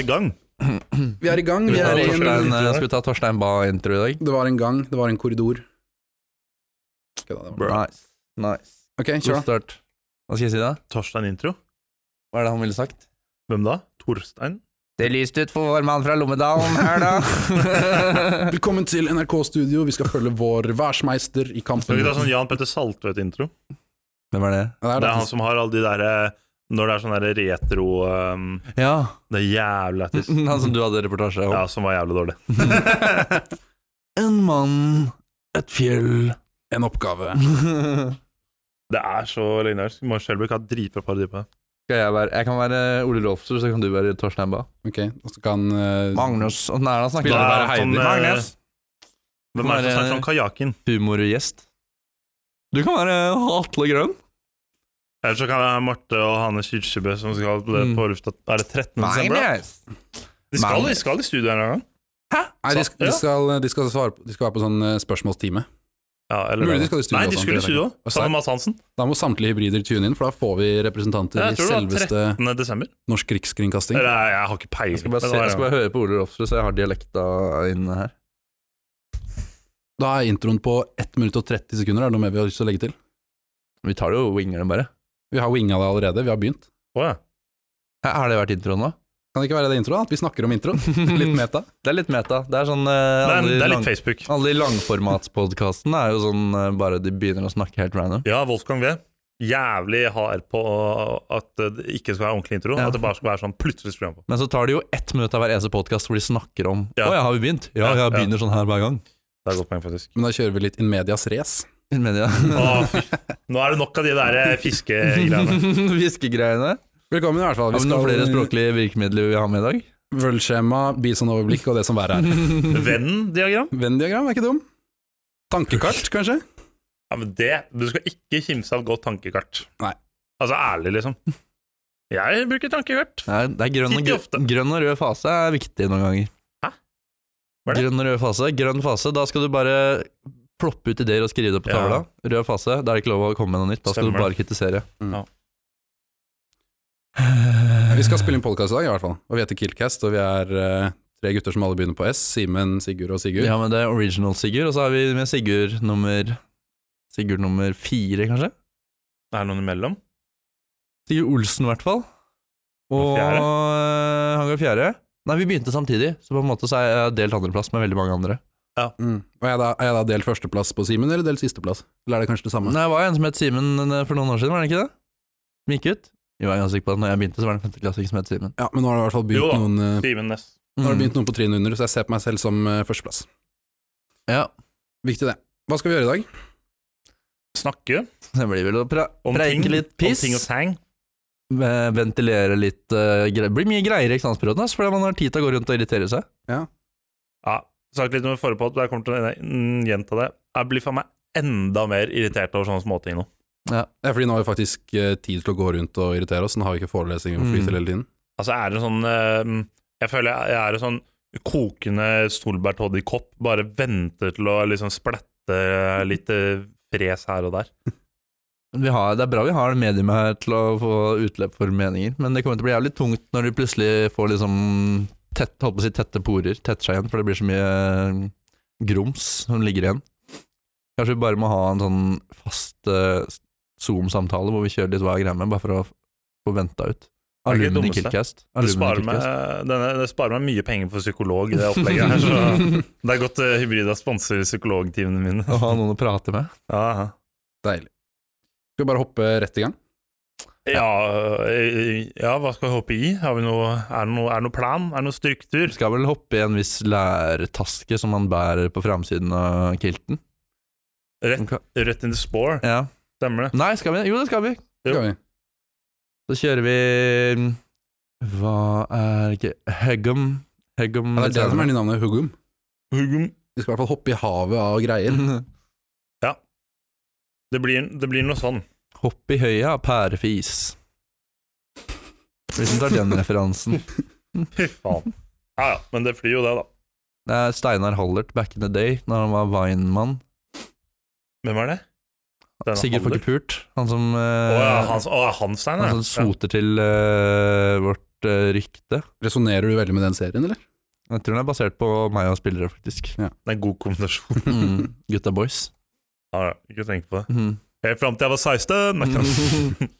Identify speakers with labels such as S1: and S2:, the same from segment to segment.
S1: i gang.
S2: Vi er i gang. Vi
S1: Ja,
S2: er i en,
S1: Torstein.
S3: eh, Skal vi ta Torstein Ba-intro i dag?
S2: det var en gang, det var en korridor. Ok, da, det var-
S3: Nice. nice.
S2: Ok,
S3: God
S2: kjør, da.
S3: start. Hva skal jeg si da?
S1: Torstein intro.
S3: Hva er det han ville sagt?
S1: Hvem da? Torstein?
S3: Det lyste ut for vår mann fra Lommedalen her, da.
S2: Velkommen til NRK Studio. Vi skal følge vår værsmeister i
S1: Skal
S2: kampen.
S1: vi ta sånn Jan Petter Saltvedt-intro?
S3: Hvem er det?
S2: Ja,
S1: Det er han som har alle de derre Når det er sånn derre retro um,
S3: Ja,
S1: Det er jævlig lættis.
S3: han som du hadde reportasje om.
S1: Ja, som var jævlig dårlig.
S3: En mann, et fjell.
S2: En oppgave.
S3: Skal
S1: Det er så legendarisk. Maren Skjelbæk har dritbra parodi på det.
S3: jeg være Jeg kan være Ole Rolfsrud, så kan du være Torstein Ba.
S2: Ok, og så kan eh,
S3: Magnus. Åssen er det han snakker?
S1: Da
S3: Bare
S1: er han,
S3: Heidi.
S1: eh,
S3: Magnus.
S1: Hvem er det som snakker om kajakken?
S3: Humorgjest. Du kan være Atle Grønn.
S1: Eller så kan det være Marte og Hanne Kyrkjebø som skal på, det på lufta Er det 13. desember? da? De skal, de skal i studio en eller annen gang.
S2: Nei, de, sk- de, skal, eh, de, skal svare på, de skal være på sånn eh, spørsmålstime.
S1: Ja, eller
S2: Mulig de
S1: det.
S2: skal i studio
S1: Nei, de
S2: også,
S1: skulle i
S2: det er
S1: studio
S2: Og
S1: også,
S2: så-
S1: sammen med Mads Hansen.
S2: Da må samtlige hybrider tune inn, for da får vi representanter
S1: Ja,
S2: i
S1: jeg tror det var
S2: selveste
S1: 13. desember.
S2: Norsk Rikskringkasting.
S1: Eller, jeg, jeg har ikke peiling.
S3: Jeg skal, bare
S1: men
S3: se,
S1: det var
S3: jeg
S1: en
S3: skal bare høre på Ole Rolfsrud, så jeg har dialekta inne her.
S2: Da er introen på 1 minutt og 30 sekunder. Er det noe mer vi har lyst til å legge til?
S3: Vi tar det jo winger det bare.
S2: Vi har winga det allerede. Vi har begynt.
S1: gang. Å, ja.
S3: Hæ, Har det vært introen nå?
S2: Kan det ikke være det introen? At vi snakker om introen? Litt meta?
S3: Det er litt meta. Det er sånn eh,
S1: Det er,
S3: alle, de
S1: det er
S3: lang-
S1: litt Facebook.
S3: alle de langformatspodkastene er jo sånn eh, bare de begynner å snakke helt random.
S1: Ja, Wolfgang V. Jævlig hard på at det ikke skal være ordentlig intro.
S3: Ja.
S1: At det bare skal være sånn plutselig skru på.
S3: Men så tar det jo ett minutt av hver eneste podkast hvor de snakker om Å
S1: Ja.
S3: ja, har vi begynt? Ja,
S1: Ja,
S3: jeg begynner sånn her hver gang.
S1: Det er et godt poeng, faktisk.
S2: Men da kjører vi litt In medias race.
S3: Mener
S1: Å,
S3: jeg.
S1: fy. Nå er det nok av de der eh, fiskegreiene.
S3: Fiskegreiene.
S2: Velkommen, i hvert fall.
S3: Har
S2: Vi
S3: vi noen
S2: skal
S3: flere språklige virkemidler vi har med i dag?
S2: Vølskjema, bisonoverblikk og det som verre er.
S1: Venn-diagram?
S2: Venn-diagram er ikke dum. Tankekart, kanskje?
S1: Ja, men det Du skal ikke kimse av et godt tankekart.
S2: Nei.
S1: Altså ærlig, liksom. Jeg bruker tankekart.
S3: Nei, det er grønn og,
S1: Ikke
S3: grø- grønn og rød fase er viktig noen ganger.
S1: Hæ? Hva er det?
S3: Grønn og rød fase. Grønn fase, da skal du bare ploppe ut ideer og skrive det på
S1: Ja.
S3: tavla. Rød fase, da er det ikke lov å komme med noe nytt. Da skal
S1: Stemmer.
S3: du bare kritisere.
S2: Mm.
S1: Ja.
S2: Vi skal spille inn podkast i dag, i hvert fall. Og vi heter Killcast, og vi er eh, tre gutter som alle begynner på S. Simen, Sigurd og Sigurd.
S3: Vi har med det original Sigurd, og så har vi med Sigurd nummer Sigurd nummer fire, kanskje?
S1: Det er noen imellom.
S3: Sigurd Olsen, i hvert fall. Og
S1: Og fjerde.
S3: øh, han ga fjerde. Nei, vi begynte samtidig, så på en måte så er jeg delt andreplass med veldig mange andre.
S2: Mm. Og er jeg da, er jeg da delt førsteplass på Simen, eller delt sisteplass? Eller er det kanskje det samme?
S3: Nei, det var jo en som het Simen øh, for noen år siden, var det ikke det? Som gikk ut? Jo, jeg er ganske sikker på at når jeg begynte, så var det en femteklassing som het Simen. Mm.
S2: Ja, men nå har det i hvert
S1: Jo
S2: fall
S1: da.
S2: begynt noen eh,
S1: Simen Næss.
S2: Nå har det begynt noen på trinnet under, så jeg ser på meg selv som eh, førsteplass.
S3: Ja,
S2: Viktig det. Hva skal vi gjøre i dag?
S1: Snakke
S3: det blir vel å pra
S1: om ting,
S3: preike litt
S1: om
S3: piss,
S1: ting og tang.
S3: eh, ventilere litt uh, greier. Det blir mye greier i eksamensperioden, ass, fordi man har tid til å gå rundt og irritere seg.
S1: Ja, sagt litt om det forrige podd, jeg kommer til å mm, gjenta det. Jeg blir faen meg enda mer irritert over sånne småting nå.
S2: Det er fordi nå har vi faktisk eh, tid til å gå rundt og irritere oss. Nå har vi ikke forelesninger om
S3: Mm.
S2: flytid hele tiden.
S1: Altså, jeg er en sånn eh, Jeg føler jeg- jeg er en sånn kokende solbærtoddy-kopp. Bare venter til å liksom splette litt eh, fres her og der.
S3: Vi har, det er bra vi har medium her til å få utløp for meninger, men det kommer til å bli jævlig tungt når du plutselig får liksom tett, holdt på å si tette porer, tetter seg igjen, for det blir så mye eh, grums som ligger igjen. Kanskje vi bare må ha en sånn fast eh, Zoom-samtale hvor vi kjører litt hva jeg greier med, bare for å få venta ut.
S1: er ikke det
S3: Alumni
S1: dummeste.
S3: Killcast.
S1: Det
S3: Alumni
S1: sparer, meg, eh,
S3: Killcast.
S1: denne, det sparer meg mye penger for psykolog, det opplegget her. Så det er godt uh, hybrida sponser psykologtimene mine.
S3: Å ha noen å prate med.
S1: Ja,
S2: Deilig. Skal vi bare hoppe rett i gang?
S1: ja, eh, ja, hva skal vi hoppe i? Har vi noe, er, det noe, er det noe plan? Er det noe struktur?
S3: Du skal vel hoppe i en viss lærtaske som man bærer på framsiden av kilten.
S1: Rett, rett in the spore,
S3: Ja.
S1: stemmer det?
S3: Nei, skal vi? Jo, det skal vi.
S1: Jo.
S2: Skal vi?
S3: Så kjører vi mm, Hva er ikke Heggum Heggum
S2: Ja, det er det som er nye navnet, Hugum.
S1: Hugum.
S2: Vi skal i hvert fall hoppe i havet av greier.
S3: Mm.
S1: Det blir, det blir noe sånn.
S3: Hopp i høya, pærefis. Hvis du tar den referansen.
S1: Fy faen. Ja, ja, men det flyr jo det, da.
S3: Det er Steinar Hallert back in the day, når han var Vine-mann.
S1: Hvem er det? Denne
S3: Sigurd får
S1: Hallert?
S3: ikke pult. Han sånn som, eh,
S1: Å ja, han, å, ja, han Stein, ja.
S3: han som soter til eh, vårt eh, rykte.
S2: Resonnerer du veldig med den serien, eller?
S3: Jeg tror den er basert på meg og spillere, faktisk.
S1: Det er en god kombinasjon.
S3: Mm. Gutta boys.
S1: Ja, ikke tenk på det.
S3: Mm.
S1: Helt fram til jeg var 16! Nei, ikke sant?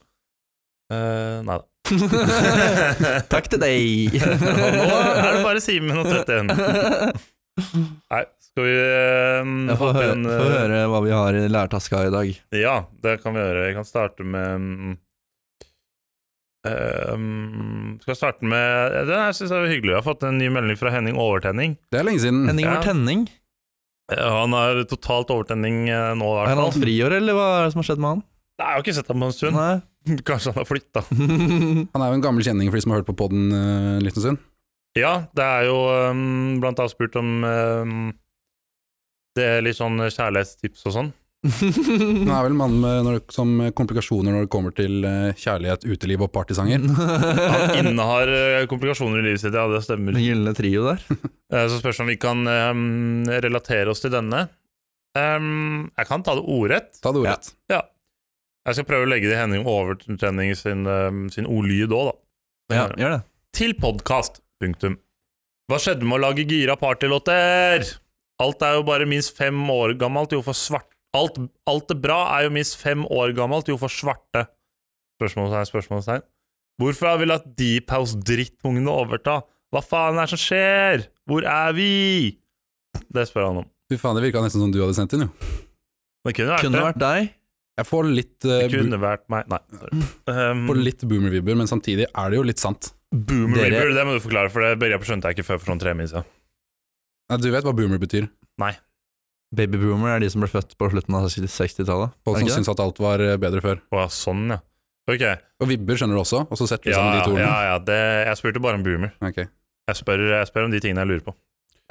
S1: Eh, nei da.
S3: Takk til deg!
S1: Og Nå er det bare Simen og 31. Nei, skal vi eh,
S3: Jeg får
S1: hoppe
S3: høre,
S1: inn,
S3: får
S1: eh,
S3: høre hva vi har i lærtaska i dag.
S1: Ja, det kan vi gjøre. Jeg kan starte med mm, eh, Skal jeg starte med Den her syns jeg var hyggelig. Jeg har fått en ny melding fra Henning Overtenning.
S2: Det er lenge siden.
S3: Henning
S1: Mm. Ja.
S3: var tenning.
S1: Eh, Han har totalt overtenning eh, nå, i
S3: Er
S1: hvert
S3: han hatt
S1: fall.
S3: friår, eller hva er det som har skjedd med han?
S1: Nei, Jeg har ikke sett ham på en stund.
S3: Nei.
S1: Kanskje han har flytta.
S2: Han er jo en gammel kjenning for de som har hørt på podden eh, en liten stund.
S1: Ja, det er jo eh, blant annet spurt om eh, det er litt sånn kjærlighetstips og sånn.
S2: Han er vel en mann med når, som komplikasjoner når det kommer til eh, kjærlighet, uteliv og partysanger.
S1: Han innehar eh, komplikasjoner i livet sitt, ja, det stemmer.
S3: Den gylne trio der.
S1: Eh, Så spørs det om vi kan ehm, relatere oss til denne. Ehm, jeg kan ta det ordrett.
S2: Ta det ordrett.
S1: Jeg skal prøve å legge det i Henning Overtrening sin, ehm, sin ordlyd òg, da. Det
S3: Ja,
S1: kan jeg gjøre.
S3: gjør det.
S1: Til podkast. Punktum. Hva skjedde med å lage gira partylåter? Alt er jo bare minst fem år gammelt, jo for svart... Alt, alt det bra er jo minst fem år gammelt, jo for svarte. Spørsmålstegn, spørsmålstegn. Hvorfor har vi latt Deep House-drittungene overta? Hva faen er det som skjer? Hvor er vi? Det spør han om.
S2: Fy faen, det virka nesten som du hadde sendt inn, jo.
S1: Det kunne vært
S3: Kunne
S1: det.
S3: vært deg.
S2: Jeg får litt,
S1: Det
S2: eh, bo
S1: kunne vært meg. Nei, sorry.
S3: Mm.
S1: Um,
S2: får litt boomer-vibber, men samtidig er det jo litt sant.
S1: boomer
S3: Dere-
S1: Ribber, det må du forklare, for det begrepet skjønte jeg ikke før for sånn tre min siden.
S2: Nei, du vet hva boomer betyr?
S3: Baby boomer er de som ble født på slutten av 60-tallet.
S2: Folk som
S3: Er det ikke det?
S2: syns at alt var eh, bedre før.
S1: Å ja, sånn, ja. Ok.
S2: Og vibber skjønner du også, og så setter du
S1: Ja,
S2: sammen Liksom, de to
S1: ja,
S2: ordene.
S1: ja det, jeg spurte bare om boomer.
S2: Ok.
S1: Jeg spør, jeg spør om de tingene jeg lurer på.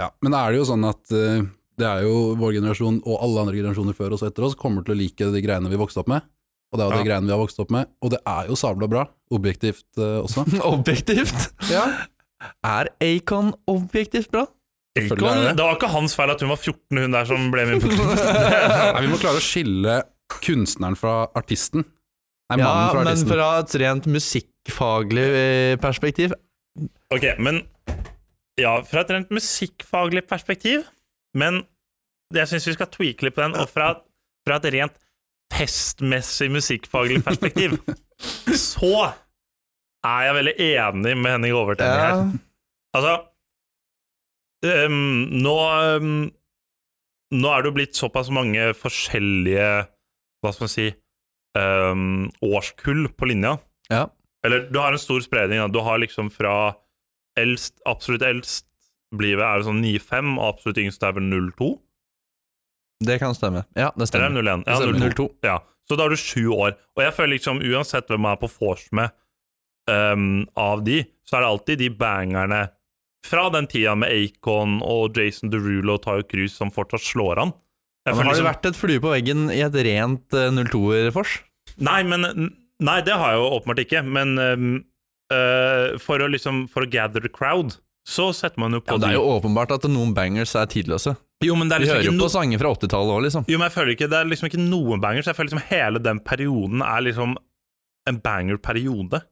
S2: Ja, men da er det jo sånn at eh, det er jo vår generasjon og alle andre generasjoner før oss og etter oss kommer til å like de greiene vi vokste opp med. Og det er jo de greiene vi har vokst opp med, og det er jo sabla bra, objektivt eh, også.
S3: Objektivt!
S2: ja.
S3: Er Acon objektivt bra?
S2: Selvfølgelig er det det.
S1: det var ikke hans feil at hun var 14, hun der som ble med på
S2: Nei, vi må klare å skille kunstneren fra artisten. Nei,
S3: Ja,
S2: mannen fra
S3: men
S2: artisten.
S3: fra et rent musikkfaglig eh, perspektiv
S1: Ok, men Ja, fra et rent musikkfaglig perspektiv, men jeg syns vi skal tweake litt på den, og fra, fra et rent festmessig musikkfaglig perspektiv, så er jeg veldig enig med Henning Overtenning her.
S3: ja.
S1: Altså ehm, nå, ehm, nå er det jo blitt såpass mange forskjellige Hva skal man si ehm, Årskull på linja.
S3: Ja.
S1: Eller du har en stor spredning. Da. Du har liksom fra eldst, absolutt eldst blir vel- er det sånn 9-5, og absolutt yngst er vel 0-2?
S3: Det kan stemme. Ja,
S1: Eller
S3: det
S1: er
S3: stemmer.
S1: det 0-1? Ja,
S2: Det stemmer.
S1: 0-2.
S3: 02.
S1: Ja, så da har du sju år. Og jeg føler liksom, uansett hvem jeg er på vors med ehm, av de, så er det alltid de bangerne fra den tida med Acon og Jason Derulo og Tayo Cruz som fortsatt slår an. Jeg
S3: Men
S1: føler
S3: har det
S1: liksom,
S3: vært et flue på veggen i et rent eh, 02-er-fors?
S1: Nei, men Nei, det har jeg jo åpenbart ikke, men ehm, eh, for å liksom For å gather the crowd, så setter man jo på
S3: Ja, det
S1: de-
S3: er jo åpenbart at noen bangers er tidløse.
S1: Jo, men det er
S3: Vi
S1: liksom
S3: hører
S1: ikke
S3: jo
S1: no-
S3: på sanger fra 80-tallet òg, liksom.
S1: Jo, men jeg føler ikke Det er liksom ikke noen bangers. Jeg føler liksom hele den perioden er liksom en banger-periode.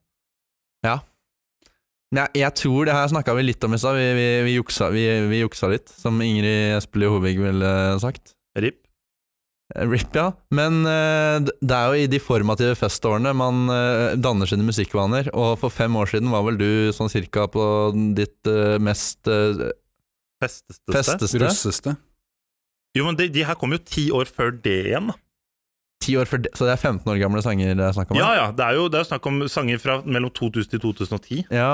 S3: Ja, jeg tror det her snakka vi litt om i stad. Vi, vi, vi, juksa- vi, vi juksa litt, som Ingrid Espelid Hovig ville sagt.
S1: Rip.
S3: Eh, Rip, ja. Men eh, d- det er jo i de formative festårene man eh, danner sine musikkvaner. Og for fem år siden var vel du sånn cirka på ditt eh, mest eh,
S1: Festeste
S3: festeste?
S2: Russeste.
S1: Jo, men de, de her kom jo ti år før det igjen. da.
S3: Ti år før det, så det er 15 år gamle sanger det er snakk om? her?
S1: Ja, ja, det er jo det er jo snakk om sanger fra mellom 2000 til 2010.
S3: Ja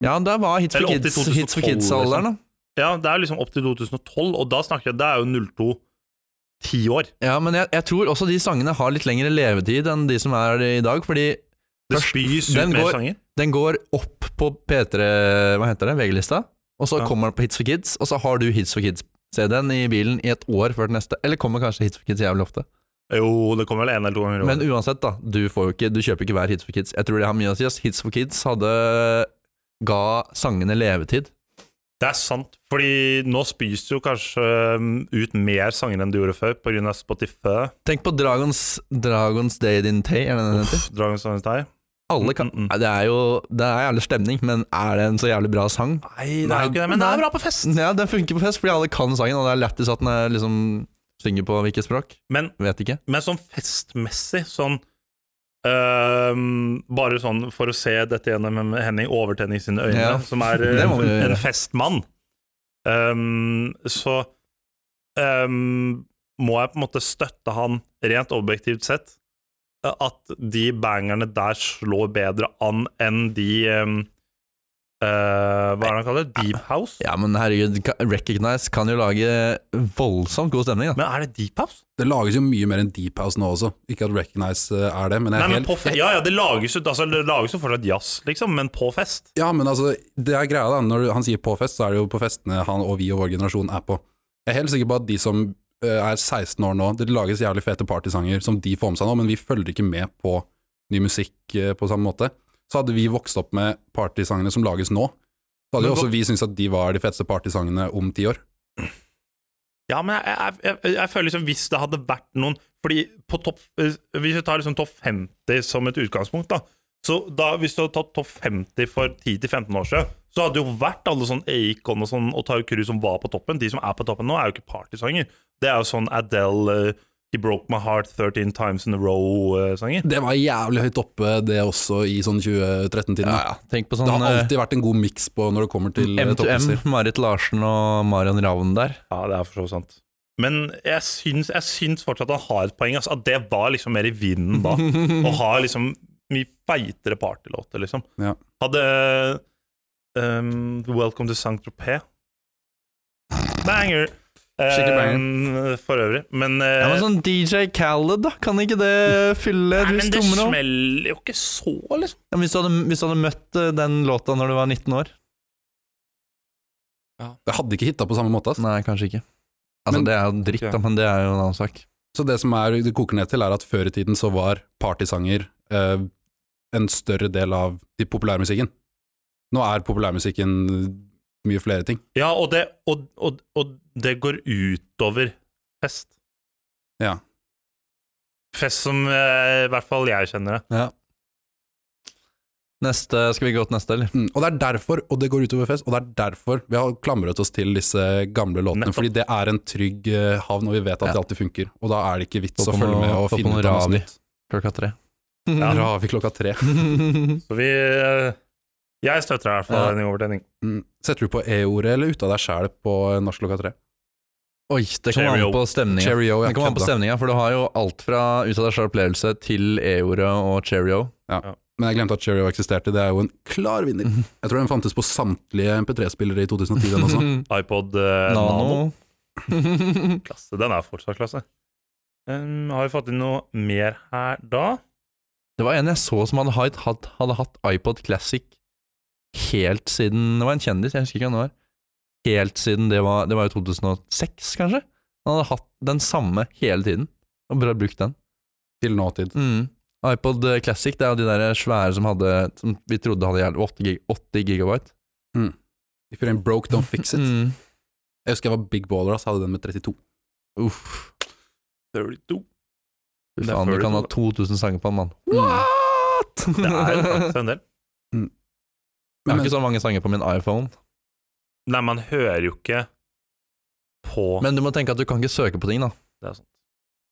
S3: Ja, da var Hits for
S1: Eller opp til
S3: Kids- Hits
S1: 2012,
S3: for Kids-alderen, da.
S1: Ja, det er jo liksom opp til 2012, og da snakker jeg, det er jo 02 ti år.
S3: Ja, men jeg, jeg tror også de sangene har litt lengre levetid enn de som er i dag, fordi
S1: Det
S3: Først-
S1: spys ut
S3: den
S1: mer
S3: går-
S1: sanger.
S3: den går opp på P3 Hva heter det? VG-lista. Og så
S1: Ja.
S3: kommer den på Hits for Kids, og så har du Hits for Kids-CD-en i bilen i et år før den neste. Eller kommer kanskje Hits for Kids jævlig ofte.
S1: Jo, det kommer vel en eller to ganger i
S3: Men
S1: året.
S3: uansett, da. Du, får jo ikke, du kjøper ikke hver Hits for Kids. Jeg tror det har mye å si. ass. Hits for Kids hadde ga sangene levetid.
S1: Det er sant, fordi nå spys jo kanskje um, ut mer sanger enn de gjorde før, på grunn av Spotify,
S3: Tenk på Dragons, Dragons Day Din Tay, er det den heter?
S1: Dragons Sangers Day.
S3: Alle kan
S1: Mm, mm, mm.
S3: Nei, Det er jo Det er jævlig stemning, men er det en så jævlig bra sang?
S1: Nei, det er jo ikke det, men det
S3: Nei.
S1: er bra på fest!
S3: Ja, den funker på fest, fordi alle kan sangen, og det er lættis at den er liksom synger på hvilket språk.
S1: Men,
S3: Vet ikke.
S1: men sånn festmessig, sånn øhm, Bare sånn for å se dette gjennom Henning Overtenning sine øyne,
S3: Ja.
S1: som er
S3: Det må vi
S1: øh, en
S3: gjøre.
S1: festmann, øhm, så øhm, må jeg på en måte støtte han rent objektivt sett. øh, At de bangerne der slår bedre an enn de øhm, øh, Hva er det han kaller det? Deep House?
S3: Ja, men herregud, ka- Recognize kan jo lage voldsomt god stemning, da.
S1: Men er det Deep House?
S2: Det lages jo mye mer enn deep house nå også. Ikke at Recognize eh, er det, men jeg
S1: Nei,
S2: er
S1: men
S2: helt
S1: på fe ja, ja, det lages jo altså, det lages jo fortsatt jazz, liksom, men på fest.
S2: Ja, men altså, det er greia da, når han sier på fest, så er det jo på festene han og vi og vår generasjon er på. Jeg er helt sikker på at de som eh, er 16 år nå, det lages jævlig fete partysanger som de får med seg nå, men vi følger ikke med på ny musikk eh, på samme måte. Så hadde vi vokst opp med partysangene som lages nå, så hadde
S1: Men
S2: jo
S1: hva-
S2: også vi syntes at de var de feteste partysangene om ti år.
S1: Ja, men jeg, jeg, jeg, jeg føler liksom hvis det hadde vært noen Fordi på topp eh, Hvis vi tar liksom topp 50 som et utgangspunkt, da Så da, hvis du hadde tatt topp 50 for 10-15 år siden, så hadde det jo vært alle sånn Acon og sånn og Tau Kuru som var på toppen. De som er på toppen nå, er jo ikke partysanger. Det er jo sånn Adele eh, He Broke My Heart 13 Times In A eh, Row-sanger.
S2: Det var jævlig høyt oppe det også i sånn 2013-tiden.
S3: Ja,
S2: da.
S3: ja. Tenk på
S2: Det
S3: sånn
S2: har
S1: eh,
S2: alltid vært en god miks på når det kommer til eh,
S3: M2M,
S2: topplisser.
S3: Marit Larsen og Marion Ravn der.
S1: Ja, det er for så vidt sant. Men jeg syns, jeg syns fortsatt han har et poeng. Altså, at det var liksom mer i vinden da. Å ha liksom mye feitere partylåter, liksom.
S2: Ja.
S1: Hadde um, Welcome to Saint-Tropez Banger!
S2: Skikkelig
S1: Um, for øvrig. Men, eh,
S3: Ja, men sånn DJ Khaled, da. Kan ikke det fylle et
S1: nei, men
S3: visst
S1: det
S3: tomrom?
S1: smeller jo ikke så, liksom.
S3: Ja, men hvis, du hadde- hvis du hadde møtt eh, den låta når du var 19 år?
S2: Det hadde ikke hitta på samme måte. ass.
S3: Nei, kanskje ikke. Altså,
S2: Men-
S3: det er jo dritt, da, men det er jo en annen sak.
S2: Så det som er, det koker ned til, er at før i tiden så var partysanger eh, en større del av de populærmusikken. Nå er populærmusikken mye flere ting.
S1: Ja, og det, og, og, og det går utover fest.
S2: Ja.
S1: Fest som eh, i hvert fall jeg kjenner det.
S3: Neste, Skal vi gå til neste, eller?
S2: Mm. Og det er derfor, og det går utover fest, og det er derfor vi har klamret oss til disse gamle låtene.
S1: Nettopp.
S2: Fordi det er en trygg eh, havn, og vi vet at
S3: Ja.
S2: det alltid funker. Og da er det ikke vits
S3: Få
S2: å
S3: på
S2: følge
S3: noe-
S2: med og
S3: få på
S2: finne
S3: noe
S2: ut av noe
S3: ravi.
S2: nytt.
S3: Klokka tre.
S1: Ja.
S2: Ravi klokka tre.
S1: Så vi eh, Jeg støtter deg i hvert fall
S3: Ja.
S1: Henning Overtenning.
S2: Mm. Setter du på E-ordet eller ute av deg sjæl på eh, norsk klokka tre?
S3: Oi, det kommer
S1: Cheerio.
S3: an på stemninga.
S2: Cheerio,
S3: Det
S2: jeg
S3: kommer an på
S2: kødda.
S3: stemninga, for du har jo alt fra Ut av deg selv opplevelse til E-ordet og Cheerio.
S2: Men jeg glemte at Cheerio eksisterte, det er jo en klar vinner.
S3: Mhm.
S2: Jeg tror den fantes på samtlige MP3-spillere i 2010 den også.
S1: iPod eh, Nano.
S3: Nano.
S1: Klasse. Den er fortsatt klasse. Um, har vi fått inn noe mer her da?
S3: Det var en jeg så som hadde hatt, hatt, hadde hatt iPod Classic helt siden Det var en kjendis, jeg husker ikke hvem det var. Helt siden det var Det var jo 2006, kanskje? Han hadde hatt den samme hele tiden, og bare brukt den.
S2: Til nåtid.
S3: Mm. iPod Classic det er jo de der svære som hadde Som vi trodde hadde jævlig 80, gig, 80 gigabyte.
S2: If you're in broke, don't fix it.
S3: Mm.
S2: Jeg husker jeg var big baller, ass, hadde den med 32.
S3: Uff.
S1: 32.
S3: Fy
S1: Det er
S3: faen,
S1: før
S3: du
S1: de
S3: kan
S1: to,
S3: ha
S1: da.
S3: 2000 sanger på en mann.
S2: Mm.
S3: What?!
S1: Det er jo
S3: jeg
S1: faktisk en del.
S3: har
S2: Men,
S3: ikke så mange sanger på min iPhone.
S1: Nei, man hører jo ikke på
S3: Men du må tenke at du kan ikke søke på ting, da.
S1: Det er sant.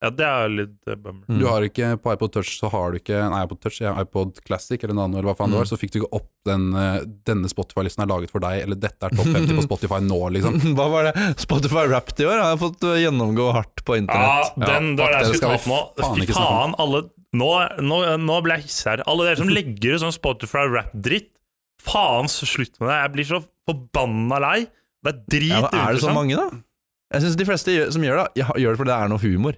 S1: Ja, det er jo litt eh, bummer.
S3: Mm.
S2: du har ikke på iPod Touch, så har du ikke en iPod Touch, en iPod Classic eller Nano, eller hva faen det
S3: Mm.
S2: var, så fikk du ikke opp den eh, 'denne Spotify-listen er laget for deg', eller 'dette er topp 50 på Spotify nå', liksom.
S3: Hva var det? Spotify Wrapped i år har jeg fått øh, gjennomgå hardt på
S1: Ja,
S3: internett.
S1: den, det var
S2: Ja,
S1: det jeg
S2: det skal
S1: skulle
S2: vi
S1: ta opp nå.
S2: faen
S1: Fy
S2: ikke snakke om.
S1: faen, alle Nå, nå, nå ble jeg hissig her. Alle dere som legger ut sånn Spotify-rap-dritt, faen, så slutt med det. Jeg blir så forbanna lei. Det er drit
S3: Ja, men er det så mange, da? Jeg syns de fleste gjør- som gjør det, ja, gjør det fordi det er noe humor.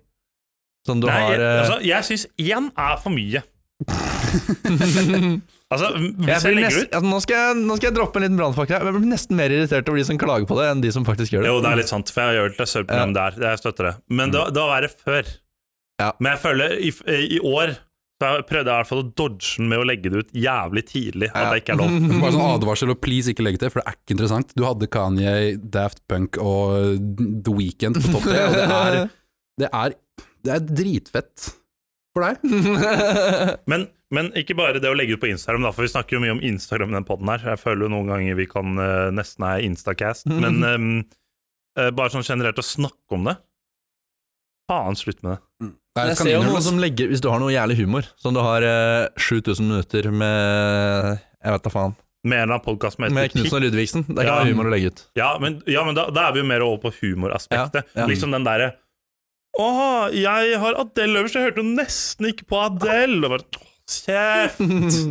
S3: Sånn du
S1: Nei,
S3: har
S1: jeg,
S3: øh,
S1: altså, jeg syns én er for mye. Altså,
S3: jeg
S1: hvis jeg,
S3: blir
S1: legger
S3: nesten- altså, nå, skal jeg, nå skal jeg droppe en liten brannfakkel. her, men Jeg blir nesten mer irritert over de som klager på det, enn de som
S1: ut
S3: faktisk gjør det.
S1: Jo, det er litt sant, for jeg gjør det til sørprogram der. Jeg støtter det. Men det, det var verre før.
S3: Mm. Ja.
S1: Men jeg føler i, i år så jeg prøvde jeg i hvert fall å dodge den med å legge det ut jævlig tidlig. At
S3: Ja.
S1: det ikke er lov.
S2: Bare sånn advarsel, og please ikke legg til, for det er ikke interessant. Du hadde Kanye, Daft Punk og The Weeknd på topp tre, og det er, det er, det er dritfett. for deg.
S1: Men, men ikke bare det å legge ut på Instagram, da, for vi snakker jo mye om Instagram i den podden her. Jeg føler jo noen ganger vi kan eh, nesten er Instacast, men ehm, eh, eh, bare sånn generelt å snakke om det. Faen, slutt med det.
S2: Mm. Det er altså.
S3: Jeg
S2: et
S3: ser jo
S2: kaninhull.
S3: noen
S2: ass.
S3: som legger Hvis du har noe jævlig humor, som du har eh, 7000 minutter med Jeg vet da faen.
S1: Mer enn en podkast med
S3: Med
S1: et
S3: Knutsen og Ludvigsen. Det er ikke
S1: Ja.
S3: noe humor å legge ut.
S1: Ja, men, ja, men da, da er vi jo mer over på humoraspektet.
S3: Ja, ja.
S1: Liksom den derre Å, jeg har Adele øverst, jeg hørte jo nesten ikke på Adele! Og bare «Åh, Kjeft!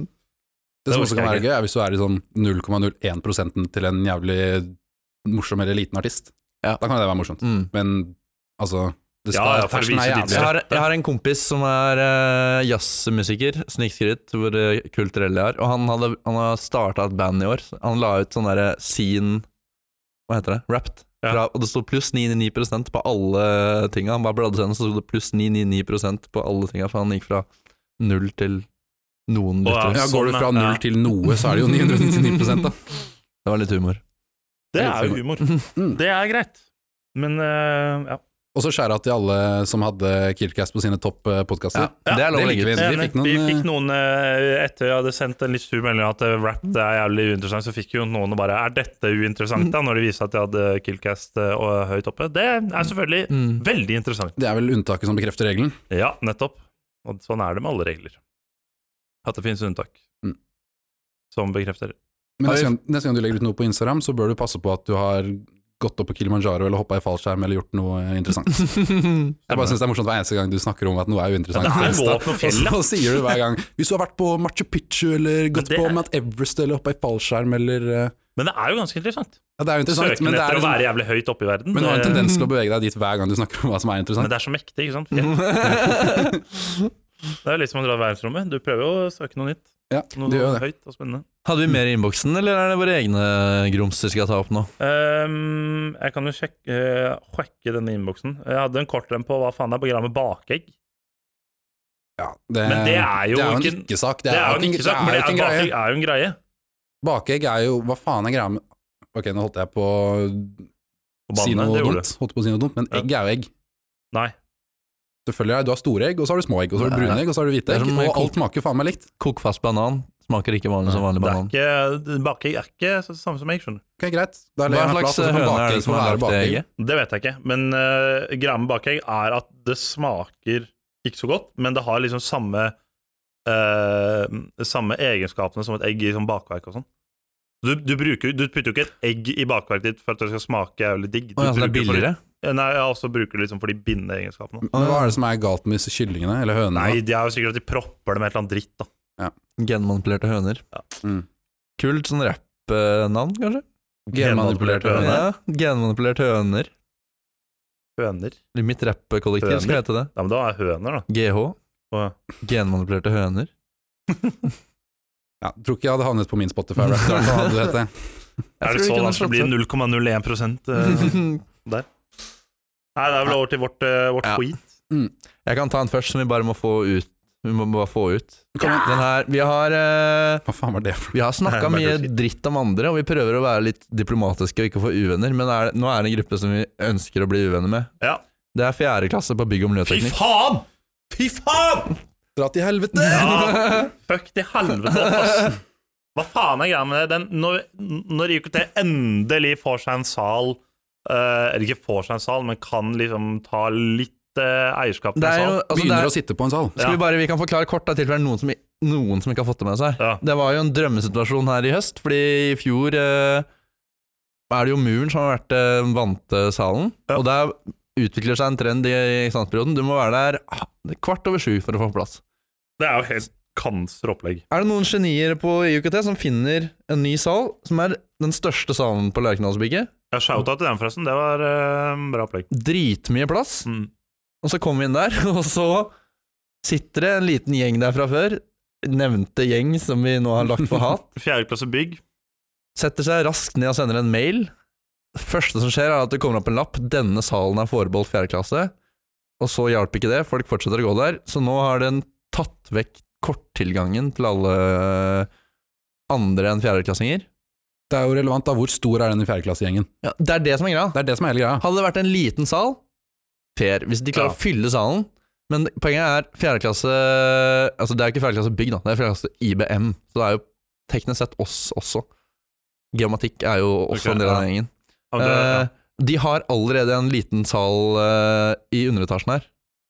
S2: Det som
S1: Det
S2: også
S1: orker
S2: kan
S1: jeg
S2: være gøy, er hvis du er i sånn 0,01 til en jævlig morsom eller liten artist.
S3: Ja.
S2: Da kan det være morsomt.
S3: Mm.
S2: Men altså det
S1: Ja,
S2: skal,
S1: ja, for å
S2: terskelen er
S1: vise
S2: jævlig.
S1: ditt-
S3: Jeg har, jeg har en kompis som er eh, jazzmusiker, snikskritt, hvor eh, kulturell jeg er. Og han, hadde, han har starta et band i år. Han la ut sånn derre scene Hva heter det? Wrapped.
S1: Ja.
S3: Fra, og det sto pluss 999 på alle tinga. Han bare bladde seg inn, så sto det pluss 999 på alle tinga, for han gikk fra null til noen
S1: Å, ja.
S3: lyttere.
S2: Ja, går du fra
S1: Sånn, ja.
S2: null til noe, så er det jo 999 da.
S3: Det var litt humor.
S1: Det er jo humor.
S2: Mm.
S1: Det er greit. Men eh, ja.
S2: Og så skjæra til alle som hadde Killcast på sine topp eh, podkaster.
S3: Ja, det er lov å legge ut.
S2: vi. Altså, Vi
S1: Enig.
S2: fikk noen,
S1: vi fikk noen eh, Etter jeg hadde sendt en litt sur melding at eh, rap det er jævlig uinteressant, så fikk jo noen bare Er dette uinteressant,
S2: Mm.
S1: da? Når de viste at jeg hadde Killcast eh, og høyt oppe. Det er selvfølgelig
S3: Mm.
S1: veldig interessant.
S2: Det er vel unntaket som bekrefter regelen.
S1: Ja, nettopp. Og sånn er det med alle regler. At det finnes unntak.
S2: Mm.
S1: Som bekrefter det.
S2: Men
S3: Har vi-
S2: neste gang, neste gang du legger ut noe på Instagram, så bør du passe på at du har gått opp på Kilimanjaro eller hoppa i fallskjerm eller gjort noe eh, interessant.
S3: Mm.
S2: Jeg bare synes det er morsomt hver eneste gang du snakker om at noe er uinteressant.
S1: Ja, det er
S2: for
S1: lov
S2: Insta.
S1: på fjellet.
S2: Og så sier du hver gang Hvis du har vært på Machu Picchu eller gått
S1: det
S2: på
S1: er-
S2: Mount Everest eller hoppa i fallskjerm eller eh,
S1: Men det er jo ganske interessant.
S2: Ja, det er jo interessant,
S1: Søken
S2: men det
S1: etter å
S2: er,
S1: være
S2: liksom,
S1: jævlig høyt oppe i verden.
S2: men du har en
S1: det-
S2: tendens til å bevege deg dit hver gang du snakker om hva som er
S1: men
S2: interessant.
S1: det er så mektig, ikke sant?
S2: Mm.
S1: Fjell. Det er jo litt som å dra i verdensrommet. Du prøver jo å søke noe nytt.
S2: Ja,
S1: Noe
S2: du gjør det.
S1: høyt og spennende.
S3: Hadde vi mer i innboksen, eller er det våre egne grumser skal ta opp nå?
S1: Ehm, jeg kan jo sjekke, eh, sjekke denne innboksen. Jeg hadde en kort en på hva faen det er på greia med bakegg.
S2: Ja, det,
S1: Men det er jo
S2: en
S1: ikke-
S2: ikke-sak.
S1: Det er jo en ikke-sak, men det
S2: det er jo
S1: er,
S2: ikke en greie.
S1: bakegg er jo en greie.
S2: Bakegg er jo Hva faen er greia med Ok, nå holdt jeg på å
S1: På
S2: si
S1: banene,
S2: noe
S1: det gjorde
S2: dumt, holdt på å si noe dumt, men
S1: Ja.
S2: egg er jo egg.
S1: du. Nei.
S2: Selvfølgelig er det- Du har store egg, og så har du små egg, og så har du
S3: Nei.
S2: brune egg, og så har du hvite
S3: Det er
S2: egg,
S3: som
S2: og
S3: kokt-
S2: alt smaker faen meg litt.
S3: Kokfast banan smaker ikke vanlig som vanlig
S1: Det
S3: banan.
S1: er ikke, eh, bakegg er ikke så- samme som egg, skjønner du.
S2: Ok, greit. Da
S3: Hva
S2: legger jeg meg
S1: altså,
S2: flat, og
S3: slags
S2: så kan
S3: høne er
S2: bakegg
S3: det som
S2: få
S3: har
S2: være
S3: lagt det
S2: bakegg.
S3: egget?
S1: Det vet jeg ikke. Men uh, greia med bakegg er at det smaker ikke så godt, men det har liksom samme eh, samme egenskapene som et egg i sånn bakverk og sånn. Du, du, bruker, du putter jo ikke et egg i bakverket ditt for at det skal smake jævlig digg. Du
S3: Å ja, så det er
S1: bruker for-
S3: billigere?
S1: Eh, Nei, jeg også bruker det liksom for de bindende egenskapene.
S2: Men hva er det som er galt med disse kyllingene, eller hønene?
S1: Nei, de er jo sikkert at de propper det med et eller annet dritt, da.
S3: Genmanipulerte høner.
S1: Ja.
S2: Mm.
S3: Kult sånn rappnavn, kanskje?
S2: Genmanipulerte høner.
S3: Ja, Genmanipulerte høner.
S1: Høner?
S3: I mitt rappkollektiv
S1: Høner?
S3: skal hete det.
S1: Ja, men da er høner, da.
S3: GH.
S1: Å,
S3: Genmanipulerte høner.
S2: Ja, tror ikke jeg hadde havnet på min Spotify. Rap, da, hva hadde det hett det?
S1: Er
S3: Jeg tror
S1: det så
S3: kunne
S1: langt det blir 0,01 prosent, eh? Nei, det er vel over til vårt, eh, vårt
S3: Ja.
S1: tweet.
S3: Jeg kan ta en først som vi bare må få ut. Vi må bare få ut.
S2: Kan man-
S3: Den her Vi har eh,
S2: Hva faen var det for noe?
S3: Vi har snakka
S1: Nei,
S3: mye
S1: bare si.
S3: dritt om andre, og vi prøver å være litt diplomatiske og ikke få uvenner, men er, nå er det en gruppe som vi ønsker å bli uvenner med.
S1: Ja.
S3: Det er fjerde klasse på bygg- og
S1: Fy
S3: miljøteknikk.
S1: faen! Fy faen!
S2: Dra til helvete!
S1: Ja, fuck til helvete opp, ass. Hva faen er greia med det? Den, når, når IKT endelig får seg en sal eh, Eller ikke får seg en sal, men kan liksom ta litt eh, eierskap til
S3: Det
S1: en
S3: er jo,
S1: sal.
S3: altså, det
S2: Begynner
S3: er,
S2: å sitte på en sal.
S1: Ja.
S3: skal vi, bare, vi kan forklare kort, da, i tilfelle noen, som i- noen som ikke har fått det med seg.
S1: Ja.
S3: Det var jo en drømmesituasjon her i høst, fordi i fjor eh, er det jo muren som har vært eh, vantesalen,
S1: Ja.
S3: og der utvikler seg en trend i eksamensperioden. Du må være der ah, kvart over sju for å få plass.
S1: Det er jo helt kanser opplegg.
S3: Er det noen genier på IUKT som finner en ny sal, som er den største salen på Lerkendalsbygget?
S1: Jeg shouta til den, forresten. Det var eh, bra opplegg.
S3: Dritmye plass.
S1: Mm.
S3: Og så kommer vi inn der, og så sitter det en liten gjeng der fra før. Nevnte gjeng som vi nå har lagt for hat.
S1: Fjerde klasse bygg.
S3: Setter seg raskt ned og sender en mail. Det første som skjer, er at det kommer opp en lapp. 'Denne salen er forbeholdt fjerde klasse'. Og så hjalp ikke det. Folk fortsetter å gå der. Så nå har den tatt vekk korttilgangen til alle andre enn fjerdeklassinger.
S2: Det er jo relevant, da. Hvor stor er den i fjerdeklassegjengen?
S3: Ja, det er det som er greia.
S2: Det er det som er hele greia.
S3: Hadde det vært en liten sal Fair, hvis de klarer
S1: Ja.
S3: å fylle salen Men poenget er fjerde klasse Altså det er ikke fjerde klasse bygg, da. Det er fjerde klasse IBM. Så det er jo teknisk sett oss også. Geomatikk er jo også
S1: Ok,
S3: en del av
S1: ja.
S3: den gjengen.
S1: Ja, men det- ja.
S3: Eh, de har allerede en liten sal eh, i underetasjen her,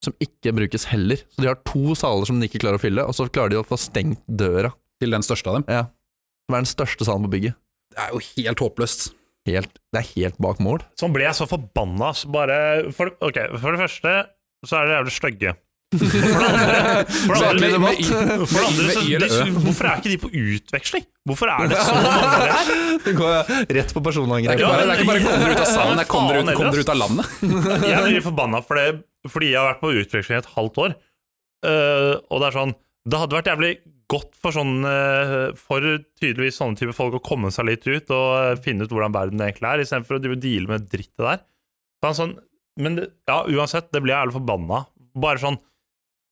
S3: som ikke brukes heller. Så de har to saler som de ikke klarer å fylle, og så klarer de å få stengt døra.
S2: Til den største av dem.
S3: Som er den største salen på bygget.
S2: Det er jo helt håpløst.
S3: Helt, det er helt bak mål.
S1: Sånn ble jeg så forbanna. ass. Bare for, ok, for det første så er dere jævlig stygge. For det andre, for det
S3: Saklig
S1: andre,
S2: med-
S3: debatt.
S1: for det andre så,
S2: med I eller Ø.
S1: de, Hvorfor er ikke de på utveksling? Hvorfor er det så mange der?
S3: Det går rett på personangrep.
S2: Det
S1: Ja,
S2: er
S1: men-
S2: ikke bare kom dere ut av salen, det er kom dere ut, kom dere ut av landet.
S1: Jeg blir forbanna for det, fordi jeg har vært på utveksling i et halvt år. Eh, og det er sånn Det hadde vært jævlig godt for sånn eh, For tydeligvis sånne type folk å komme seg litt ut og eh, finne ut hvordan verden egentlig er, istedenfor å drive og deale med drittet der. Så han sånn, men det, ja, uansett, det blir jeg jævlig forbanna. Bare sånn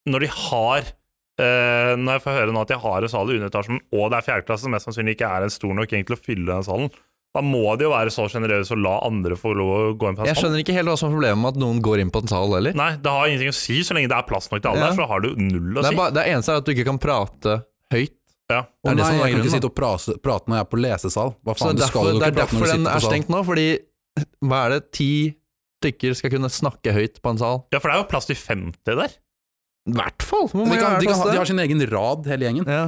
S1: Når de har eh, Når jeg får høre nå at de har en sal i underetasjen, og det er fjerdeklasse, som mest sannsynlig ikke er en stor nok egentlig til å fylle den salen, da må de jo være så sjenerøse og la andre få lov å gå inn på den
S3: Jeg
S1: salen.
S3: skjønner ikke helt hva som er problemet med at noen går inn på en sal heller.
S1: Nei, det har ingenting å si så lenge det er plass nok til alle
S3: Ja.
S1: der, så har du null å
S3: Det,
S1: si.
S3: er bare, det eneste er at du ikke kan prate høyt.
S1: Ja.
S2: Å nei,
S3: Det er det som er
S2: jeg kan
S3: grunnen,
S2: ikke
S3: da.
S2: sitte og prase, prate når jeg er på lesesal. Hva
S3: Så
S2: faen,
S3: det
S2: du
S3: er
S2: skal
S3: derfor,
S2: jo
S3: det
S2: ikke
S3: er
S2: prate når
S3: derfor
S2: du
S3: den
S2: sitter på
S3: er
S2: salen.
S3: stengt nå, fordi hva er det, ti stykker skal kunne snakke høyt på en sal?
S1: ja, for det er jo plass til 50 der.
S3: I hvert fall! Hvor
S2: De,
S3: mange
S2: kan,
S3: er
S2: de,
S3: det
S2: kan,
S3: plass til?
S2: de har sin egen rad, hele gjengen.
S3: Ja.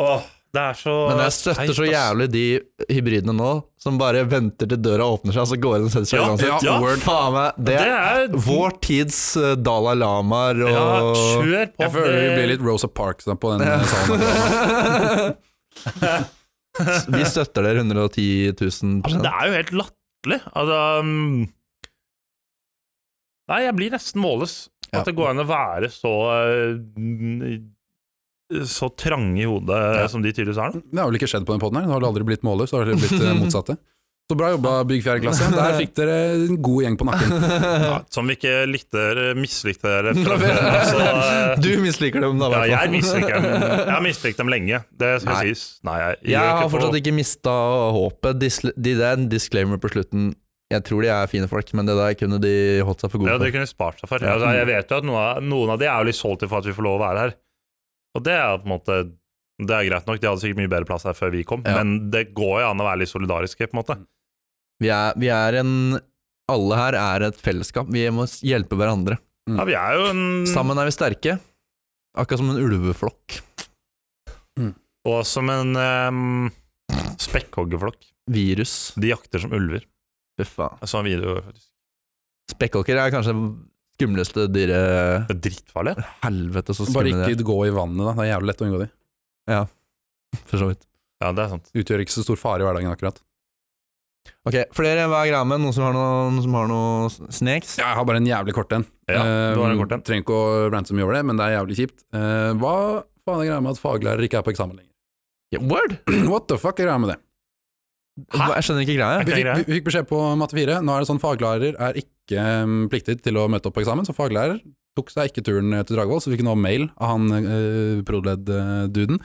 S1: Åh, det er så
S3: Men jeg støtter så jævlig de hybridene nå, som bare venter til døra åpner seg, og så går inn og setter seg
S1: Ja,
S3: uansett.
S1: ja.
S3: Word. Faen meg, det
S1: Det
S3: er
S1: er
S3: vår tids eh, Dalai Lamaer og
S1: Ja, kjør på.
S2: Jeg føler vi
S1: det-
S2: blir litt Rosa Parks da, på den eh, salen.
S1: sånn
S3: Vi støtter dere 110 000
S1: Det er jo helt latterlig. Altså um... Nei, jeg blir nesten målløs.
S2: Ja.
S1: At det går an å være så uh, Så trange i hodet som de tydeligvis er nå.
S2: Det har vel ikke skjedd på den podden her. Det har vel aldri blitt måler, så har det blitt eh, motsatte. Så bra jobba, Bygg 4. klasse. Der fikk dere en god gjeng på nakken.
S1: Ja, som vi ikke likte, mislikte dere fra før. Altså, uh,
S3: Du misliker dem, da. i
S1: ja,
S3: hvert
S1: jeg
S3: fall.
S1: misliker dem. Jeg har mislikt dem lenge. Det skal
S2: Nei.
S1: sies. Nei, jeg,
S3: Jeg
S1: gjør
S3: har
S1: på-
S3: fortsatt ikke mista håpet. Disl- De det er en disclaimer på slutten. Jeg tror de er fine folk, men det der kunne de holdt seg
S1: Ja,
S3: for gode
S1: det
S3: for.
S1: kunne de spart seg for.
S3: Ja.
S1: Altså, jeg vet jo at noen av, noen av de er jo litt solgt til for at vi får lov å være her. Og det er på en måte Det er greit nok, de hadde sikkert mye bedre plass her før vi kom,
S3: Ja.
S1: men det går jo an å være litt solidariske, på en måte.
S3: Vi er, vi er en Alle her er et fellesskap. Vi må s- hjelpe hverandre.
S1: Ja, vi er jo en
S3: Mm. Sammen er vi sterke. Akkurat som en ulveflokk.
S1: Og som en um, spekkhoggerflokk.
S3: Virus.
S1: De jakter som ulver.
S3: Fy faen.
S1: Jeg så en video faktisk.
S3: Spekkåker er kanskje det skumleste dyret
S1: Det er drittfarlig.
S3: Helvete, så
S2: Bare
S3: skumle de er.
S2: ikke gå i vannet, da. Det er jævlig lett å unngå de.
S3: For så vidt.
S1: Ja, det er sant.
S2: Utgjør ikke så stor fare i hverdagen, akkurat.
S3: Ok, flere hva er greia med? Noen som har noe, noen som har noe s- snacks?
S2: Jeg har bare en jævlig kort en.
S1: Ja, du har en
S2: Eh,
S1: kort en.
S2: Trenger ikke å rante så mye over det, men det er jævlig kjipt. Eh, hva faen er greia med at faglærere ikke er på eksamen lenger?
S3: Ja, Word!
S2: What the fuck er greia med det?
S1: Hæ?
S3: Jeg skjønner ikke greia.
S1: Er
S2: Vi
S1: ikke det
S2: fikk,
S1: greia?
S2: vi fikk beskjed på matte 4. Nå er det sånn faglærer er ikke mm, pliktig til å møte opp på eksamen, så faglærer tok seg ikke turen eh, til Dragvoll, så fikk nå mail av han eh, Prod.led-duden.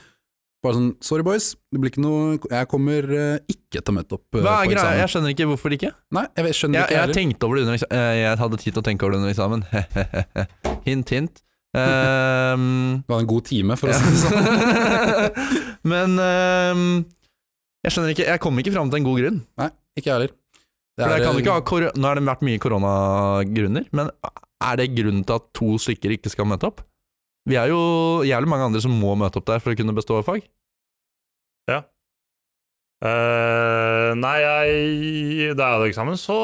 S2: Bare sånn Sorry, boys. Det blir ikke noe Jeg kommer eh, ikke til å møte opp eh,
S3: Hva
S2: på
S3: er greia?
S2: eksamen.
S3: Jeg skjønner ikke hvorfor ikke.
S2: Nei, jeg vet- skjønner
S3: Jeg,
S2: ikke
S3: jeg
S2: heller.
S3: tenkte over det under eksamen. Jeg hadde tid til å tenke over det under eksamen. hint, hint. Ehm,
S2: Du hadde en god time, for å
S3: ja.
S2: si det sånn.
S3: Men ehm, jeg skjønner ikke Jeg kom ikke fram til en god grunn.
S2: Nei, sånn. ikke jeg heller. Det
S3: For jeg kan
S2: eh,
S3: jo ikke ha kor Nå har det vært mye koronagrunner, men er det grunnen til at to stykker ikke skal møte opp? Vi er jo jævlig mange andre som må møte opp der for å kunne bestå fag.
S1: Eh, nei, jeg Da jeg hadde eksamen, så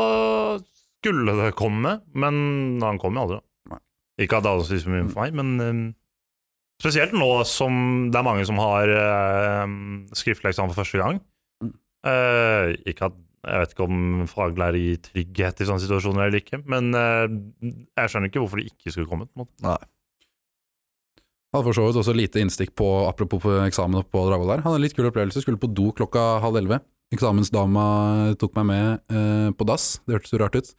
S1: skulle det komme, men han kom jo aldri. da.
S2: Nei.
S1: Ikke at det hadde så mye for meg, men eh, spesielt nå som det er mange som har eh, skriftlig eksamen for første gang.
S2: Mm.
S1: Eh, ikke at jeg vet ikke om faglærer gir trygghet i sånne situasjoner eller ikke, men eh, jeg skjønner ikke hvorfor de ikke skulle komme. på en måte.
S2: Hadde for så vidt også lite innstikk på apropos på eksamen oppe på Dragvoll der. Hadde en litt kul opplevelse. Skulle på do klokka halv elleve. Eksamensdama tok meg med eh, på dass. Det hørtes jo rart ut.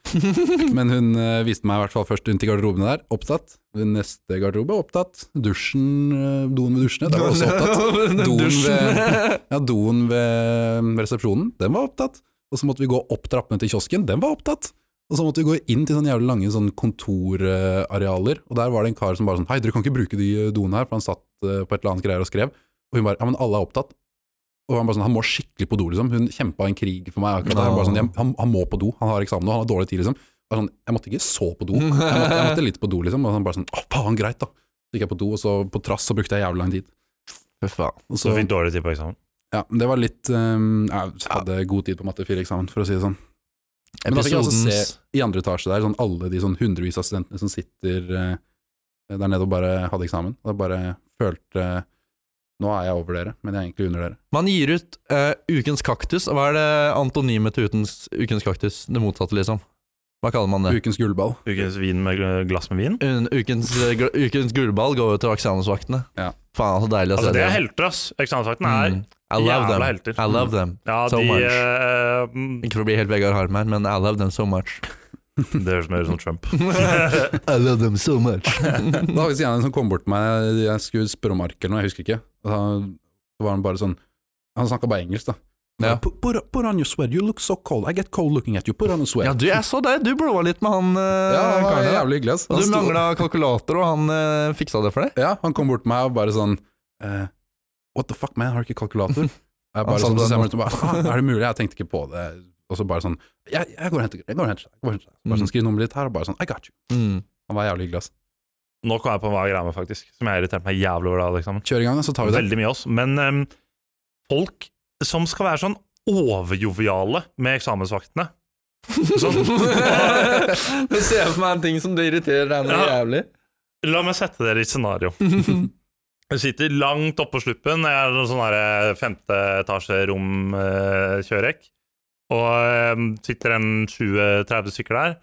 S2: Men hun eh, viste meg i hvert fall først rundt i garderobene der. Opptatt. Neste garderobe opptatt. Dusjen, eh, doen ved dusjene, der var også opptatt. Doen ved- Ja, doen ved ved resepsjonen, den var opptatt. Og så måtte vi gå opp trappene til kiosken, den var opptatt. Og så måtte vi gå inn til sånne jævlig lange sånn kontorarealer, og der var det en kar som bare sånn Hei, dere kan ikke bruke de eh, doene her, for han satt eh, på et eller annet greier og skrev. Og hun bare Ja, men alle er opptatt. Og han bare sånn Han må skikkelig på do, liksom. Hun kjempa en krig for meg akkurat der. Hun Bare sånn, «Jeg- han, han må på do, han har eksamen nå, han har dårlig tid, liksom. Jeg, sånn, jeg måtte ikke så på do, jeg måtte, jeg måtte litt på do, liksom. Og han bare sånn Å, faen, greit, da. Så gikk jeg på do, og så på trass så brukte jeg jævlig lang tid.
S3: Fy faen.
S2: Og
S1: Så du fikk dårlig tid på eksamen.
S2: ja, men det var litt ehm, Jeg hadde god tid på matte 4-eksamen, for å si det sånn. Men da fikk jeg altså
S3: Episodens
S2: se i andre etasje der, sånn alle de sånn hundrevis av studentene som sitter eh, der nede og bare hadde eksamen. Og jeg bare følte Nå er jeg over dere, men jeg er egentlig under dere.
S3: Man gir ut eh, Ukens kaktus, og hva er det antonymet til ukens, ukens kaktus? Det motsatte, liksom. Hva kaller man det?
S2: Ukens gullball.
S1: Ukens vin med glass med vin.
S3: Un- Ukens, eh, gl- ukens gullball går jo til eksamensvaktene.
S2: Ja.
S3: Faen, så deilig å
S1: Altså,
S3: se
S1: det er
S3: dem.
S1: helter, ass. Eksamensvakten er
S3: Mm. I love
S1: jævla
S3: them.
S1: helter.
S3: I love them.
S1: Ja,
S3: So
S1: de
S3: much.
S1: eh, mm,
S3: Ikke for å bli helt Vegard Harm her, men I love them so much.
S1: Det høres mer ut som Trump.
S3: I love them so much.
S2: Da var det en som kom bort til meg, jeg skulle spørre om ark eller noe, jeg husker ikke. Og da var han bare sånn Han snakka bare engelsk, da.
S3: Ja.
S2: Put, put, put on your sweat, you look so cold. I get cold looking at you. Put on your sweat.
S3: ja, du, jeg så det. Du blowa litt med han eh,
S2: Ja, han var
S3: karen der.
S2: jævlig hyggelig, ass.
S3: Og
S2: Han
S3: du
S2: sto-
S3: mangla kalkulator, og han eh, fiksa det for deg.
S2: Ja, han kom bort til meg og bare sånn eh, What the fuck, man, har du ikke kalkulator? Jeg bare
S3: sa
S2: sånn, så
S3: det
S2: ser jeg
S3: nå.
S2: meg rundt og bare, «Faen, er det mulig? Jeg tenkte ikke på det. Og så bare sånn Jeg, jeg går og henter jeg går og henter deg. jeg går og henter deg». Så Bare sånn, Skriv nummeret ditt her, og bare sånn I got you.
S3: Mm.
S2: Han var jævlig hyggelig, ass.
S1: Nå kom jeg på hva jeg greier med, faktisk. Som jeg irriterte meg jævlig over da. Liksom.
S2: Kjør i gang, da, så tar vi det.
S1: Veldig mye oss. Men em, folk som skal være sånn overjoviale med eksamensvaktene sånn,
S3: Du ser for meg en ting som det irriterer deg noe
S1: Ja.
S3: jævlig.
S1: La meg sette dere i et scenario. Jeg sitter langt oppe på sluppen. Jeg er i sånn her femte etasje rom eh, kjørekk. Og eh, sitter en 20-30 stykker der.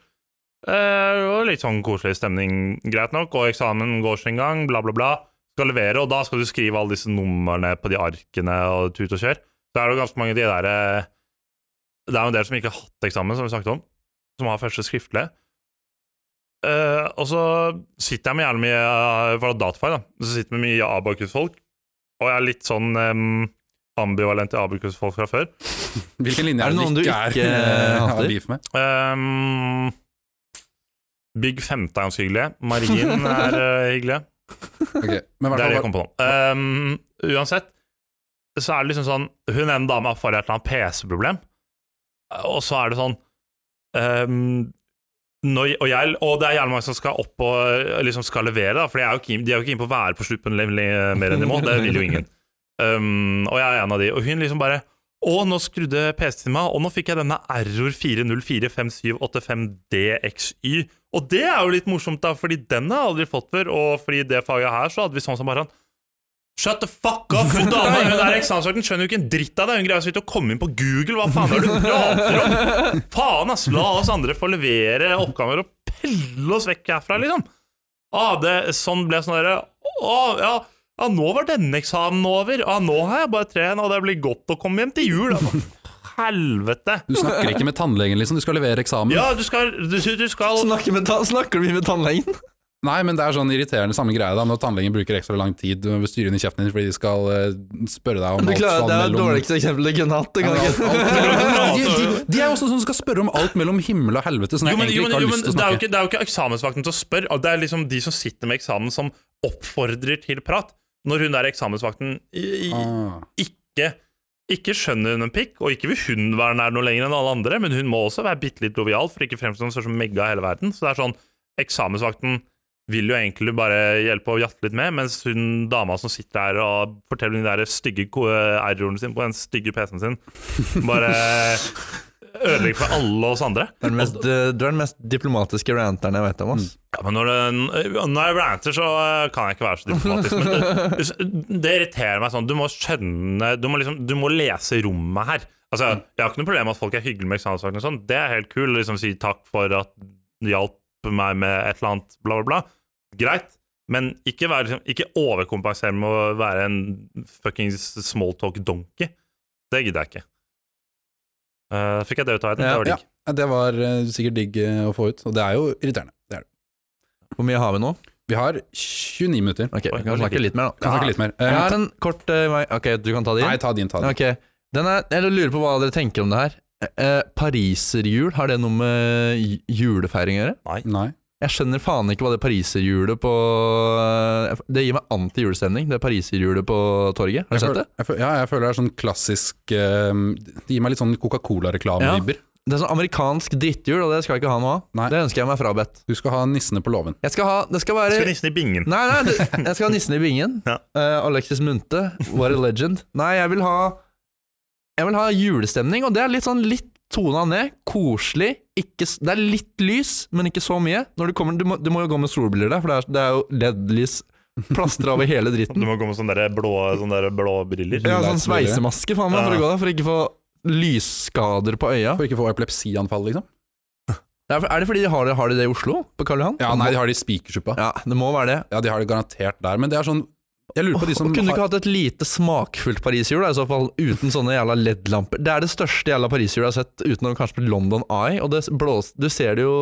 S1: Eh, og litt sånn koselig stemning, greit nok. Og eksamen går sin gang, bla, bla, bla. Skal levere, og da skal du skrive alle disse numrene på de arkene og tut og kjør. Så er det jo ganske mange av de der eh, Det er jo en del som ikke har hatt eksamen, som vi snakket om. Som har første skriftlige. Eh, og så sitter jeg med jævlig mye eh, Fra datafag, da. Så sitter jeg med mye Abakus-folk. Og jeg er litt sånn em, ambivalent til Abakus-folk fra før.
S2: Hvilken linje
S3: Er
S2: er
S3: det
S2: det
S3: noen du
S2: ikke
S3: ikke,
S2: er
S3: eh,
S2: har
S3: hater?
S2: beef med?
S1: Ehm, Bygg 15 er ganske hyggelige. Margin er eh, hyggelige.
S2: Ok, men i
S1: Det er
S2: hvert
S1: det jeg
S2: fall
S1: kom på nå. Ehm, uansett, så er det liksom sånn Hun ene dama får et eller annet PC-problem, og så er det sånn ehm, når, og, jeg, og det er gjerne mange som skal opp og liksom skal levere, da, for de er jo ikke, inn- de er jo ikke inne på å være på sluppen le- le- mer enn de må. Det vil jo ingen. Ehm, og jeg er en av de. Og hun liksom bare Å, nå skrudde PC-en meg, og nå fikk jeg denne error 40457855DXY. Og det er jo litt morsomt, da, fordi den har jeg aldri fått før. Og fordi det faget her, så hadde vi sånn som bare han Shut the fuck up! Hun dama hun der eksamensvakten skjønner jo ikke en dritt av det. Hun greier så vidt å komme inn på Google. Hva faen er det du prater om? Faen, ass! La oss andre få levere oppgaver og pelle oss vekk herfra, liksom. Ah, det, sånn ble sånn derre ah, ja, ja, nå var denne eksamen over. Ah, nå har jeg bare tre igjen, og det blir godt å komme hjem til jul. da. Helvete!
S2: Du snakker ikke med tannlegen, liksom. Du skal levere eksamen.
S1: Ja, du skal, du, du skal
S2: Sånn,
S3: Snakker, med ta snakker du mye med tannlegen?
S2: Nei, men det er sånn irriterende samme greie da, når tannlegen bruker ekstra lang tid med å styre inn i kjeften din fordi de skal eh, spørre deg om
S3: Du
S2: alt
S3: klarer,
S2: sånn
S3: det er det
S2: mellom-
S3: dårligste eksempelet du kunne hatt. Det
S2: Ja,
S3: kan
S2: men alt-
S3: ikke.
S2: alt- de, de, de er også sånne som skal spørre om alt mellom himmel og helvete, som
S1: Jo,
S2: jeg
S1: men, jo,
S2: egentlig
S1: men,
S2: ikke har
S1: jo, men
S2: lyst til å
S1: det, er jo
S2: snakke
S1: ikke, det er jo ikke eksamensvakten til å spørre. og Det er liksom de som sitter med eksamen, som oppfordrer til prat. Når hun der eksamensvakten i, i,
S2: Ah.
S1: ikke, ikke skjønner hun en pikk, og ikke vil hun være nær noe lenger enn alle andre, men hun må også være bitte litt lovial for ikke fremstå som en megga i hele verden. Så det er sånn, eksamensvakten vil jo egentlig bare hjelpe å jatte litt med, mens hun dama som sitter her og forteller den der stygge ko- erroren sin på den stygge PC-en sin, bare ødelegger for alle oss andre.
S3: Du er den mest, eh, du er den mest diplomatiske ranteren jeg vet om. Ass.
S1: Ja, men når, det, når jeg ranter, så eh, kan jeg ikke være så diplomatisk. Men det, det irriterer meg sånn. Du må skjønne Du må, liksom, du må lese rommet her. Altså, Jeg har ikke noe problem med at folk er hyggelige med eksamenssaken. og sånn. Det er helt kul. Liksom Si takk for at du hjalp meg med et eller annet, bla, bla, bla. Greit. Men ikke, vær, liksom, ikke overkompensere med å være en fuckings smalltalk-donkey. Det gidder jeg ikke. Eh, fikk jeg det ut av verden?
S3: Ja,
S1: det var digg.
S2: Ja, det var eh, sikkert digg eh, å få ut, og det er jo irriterende. Det er det.
S3: Mm. Hvor mye har vi nå?
S2: Vi har 29 minutter.
S3: Ok,
S1: Oi,
S3: Vi kan snakke litt mer, da.
S2: Kan snakke litt mer. Eh,
S3: Jeg har en kort eh, vei Ok, du kan ta det
S2: Nei,
S3: inn?
S2: ta din, ta din.
S3: Ok. Den er, jeg lurer på hva dere tenker om det her. eh, pariserhjul, har det noe med j- julefeiring å gjøre?
S2: Nei.
S3: Jeg skjønner faen ikke hva det pariserhjulet på eh, Det gir meg anti-julestemning, det pariserhjulet på torget. Har
S2: Jeg
S3: du sett
S2: føler,
S3: det?
S2: jeg føler, ja, jeg føler det er sånn klassisk eh, Det gir meg litt sånn Coca-Cola-reklamevibber.
S3: Det er sånn amerikansk dritthjul, og det skal jeg ikke ha noe
S2: Nei.
S3: av. Det ønsker jeg meg frabedt.
S2: Du skal ha nissene på låven.
S3: Jeg skal ha Det skal være
S1: Skal nissen i bingen.
S3: Nei, nei, det, jeg skal ha nissen i bingen.
S1: Ja.
S3: Eh, Alexis Munthe, what a legend. Nei, jeg vil ha Jeg vil ha julestemning, og det er litt sånn litt tona ned. Koselig. Ikke, s- det er litt lys, men ikke så mye. Når du, kommer, du, må, du må jo gå med solbriller der, for det er, det er jo LED-lys plastra over hele
S1: Du
S3: dritten.
S1: må gå med sånne der blå, sånne der blå briller.
S3: Ja, sånn sveisemaske faen meg, for å gå der, for å ikke få lysskader på øya.
S2: For ikke å få epilepsianfall, liksom.
S3: Det Er er det fordi de har det, har de det i Oslo? På Karl Johan?
S2: Ja, nei, de har det i spikersuppa.
S3: ja, det må være det.
S2: Ja, de har det garantert der. Men det er sånn Jeg lurer på de som
S3: Og kunne du ikke
S2: har
S3: hatt et lite smakfullt pariserhjul, da, i så fall, uten sånne jævla LED-lamper? Det er det største jævla pariserhjulet jeg har sett, utenom kanskje på London Eye. Og det blås, du ser det jo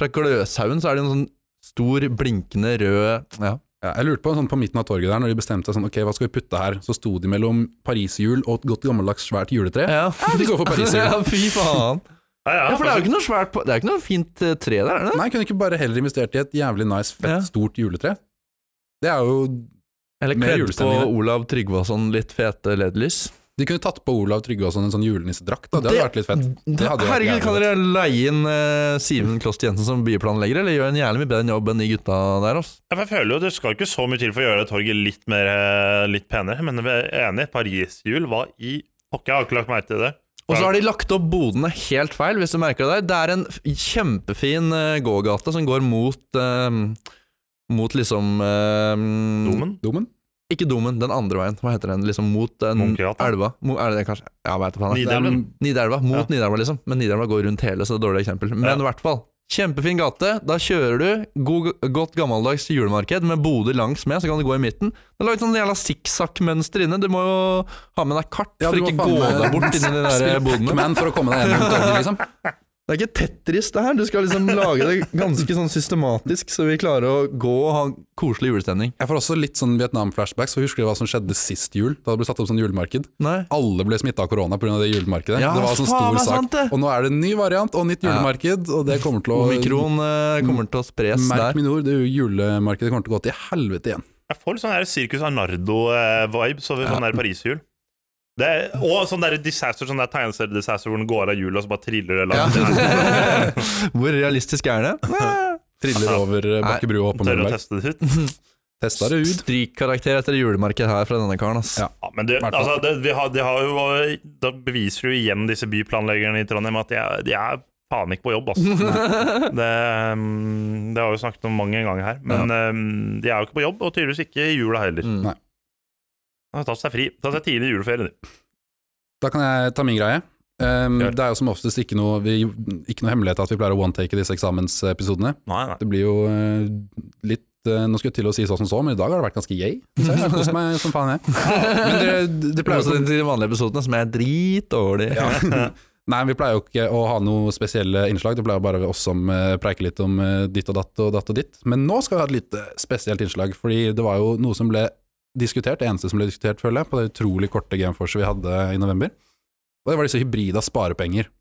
S3: fra Gløshaugen, så er det en sånn stor, blinkende rød ja.
S2: ja, Jeg lurte på sånn på midten av torget der, når de bestemte seg sånn Ok, hva skal vi putte her? Så sto de mellom pariserhjul og et godt gammeldags svært juletre.
S3: ja.
S2: vi går for pariserhjul.
S3: Ja, fy faen.
S1: Ja, ja,
S3: Ja, for det er jo
S1: altså,
S3: ikke noe svært på- Det er jo ikke noe fint eh, tre der, er det det?
S2: Nei, kunne ikke bare heller investert i et jævlig nice, fett,
S3: Ja.
S2: stort juletre? Det er jo
S3: Eller
S2: Mer
S3: kledd på
S2: julestemning, det.
S3: Olav Tryggvason litt fete LED-lys.
S2: De kunne tatt på Olav Tryggvason en sånn julenissedrakt, da. Det hadde vært litt fett. Det hadde vært
S3: Herregud,
S2: jævlig
S3: kan dere leie inn eh, Simen Klost Jensen som byplanlegger, eller gjør en jævlig mye bedre jobb enn de gutta der, altså?
S1: ja, for jeg føler jo Det skal ikke så mye til for å gjøre torget litt, mer, eh, litt penere, men jeg er enig. Pariserhjul var i pokker. Jeg har ikke lagt merke til det.
S3: Og så har de lagt opp bodene helt feil, hvis du merker det der. Det er en f- kjempefin eh, gågate som går mot eh, Mot liksom eh,
S1: Domen?
S2: Domen?
S3: Ikke domen, den andre veien. Hva heter den? Liksom mot eh,
S1: Munkegata?
S3: elva. Mo, er det det kanskje? Ja, veit da faen. jeg.
S1: Nidelven?
S3: Nidelva. Mot Nidelva, liksom. Men Nidelva går rundt hele, så det er et dårlig eksempel. Men
S1: Ja.
S3: i hvert fall. Kjempefin gate. Da kjører du god, godt gammeldags julemarked med boder langs med, så kan du gå i midten. Det er laget sånn jævla sikksakkmønster inne. Du må jo ha med deg kart
S2: Ja,
S3: for
S2: du må
S3: ikke
S2: faen
S3: gå
S2: meg
S3: deg bort inni de der
S2: spille
S3: bodene.
S2: Pac-Man for å komme deg gjennom torget, liksom.
S3: Det er ikke Tetris, det her. Du skal liksom lage det ganske sånn systematisk, så vi klarer å gå og ha en koselig julestemning.
S2: Jeg får også litt sånn Vietnam-flashbacks, for husker du hva som skjedde sist jul? Da det ble satt opp sånn julemarked?
S3: Nei.
S2: Alle ble smitta av korona pga. det julemarkedet.
S3: Ja,
S2: det var sånn
S3: faen,
S2: stor
S3: det er sant
S2: sak.
S3: det.
S2: Og nå er det en ny variant og nytt julemarked, og det kommer til å
S3: Omikron eh, kommer til å spres
S2: Mm. Merk
S3: der.
S2: mine ord, det julemarkedet kommer til å gå til helvete igjen.
S1: Jeg får litt sånn der Circus Arnardo-vibes over sånn der pariserhjul. Det er, og sånn der disaster, sånn der tegneseriedisaster hvor den går av hjulet og så bare triller det langt.
S3: Hvor realistisk er det?
S2: Triller over eh, Bakkebrua og på
S1: Tør å
S2: Møllenberg.
S1: teste det ut.
S2: Testa det ut.
S3: Strykkarakter etter julemarked her fra denne karen, ass.
S2: Ja.
S1: Ja, men det,
S2: Hvertfall.
S1: altså, det, vi har, de har jo, da beviser jo igjen disse byplanleggerne i Trondheim at de er, de er faen ikke på jobb, altså. Det, um, det har vi jo snakket om mange ganger her. Men um, de er jo ikke på jobb, og tydeligvis ikke i jula heller.
S3: Mm.
S2: Nei.
S1: De har tatt seg fri. Tatt seg tidlig juleferie. de.
S2: Da kan jeg ta min greie. Um,
S1: Gjør.
S2: det er jo som oftest ikke noe, vi, ikke noe hemmelighet at vi pleier å one-take i disse eksamensepisodene.
S1: Nei, nei.
S2: Det blir jo eh, litt eh, Nå skulle jeg til å si så som så, men i dag har det vært ganske yay. Så jeg har kost meg som faen, jeg. Men det, det pleier
S3: Også
S1: sånn
S2: jo
S3: til de vanlige episodene, som er dritdårlig.
S2: ja. Nei, vi pleier jo ikke å ha noe spesielle innslag. Det pleier bare oss som eh, preiker litt om eh, ditt og datt og datt og ditt. Men nå skal vi ha et litt eh, spesielt innslag, fordi det var jo noe som ble diskutert, det eneste som ble diskutert, føler jeg, på det utrolig korte Gameforce vi hadde i november. Og det var disse hybrida sparepenger.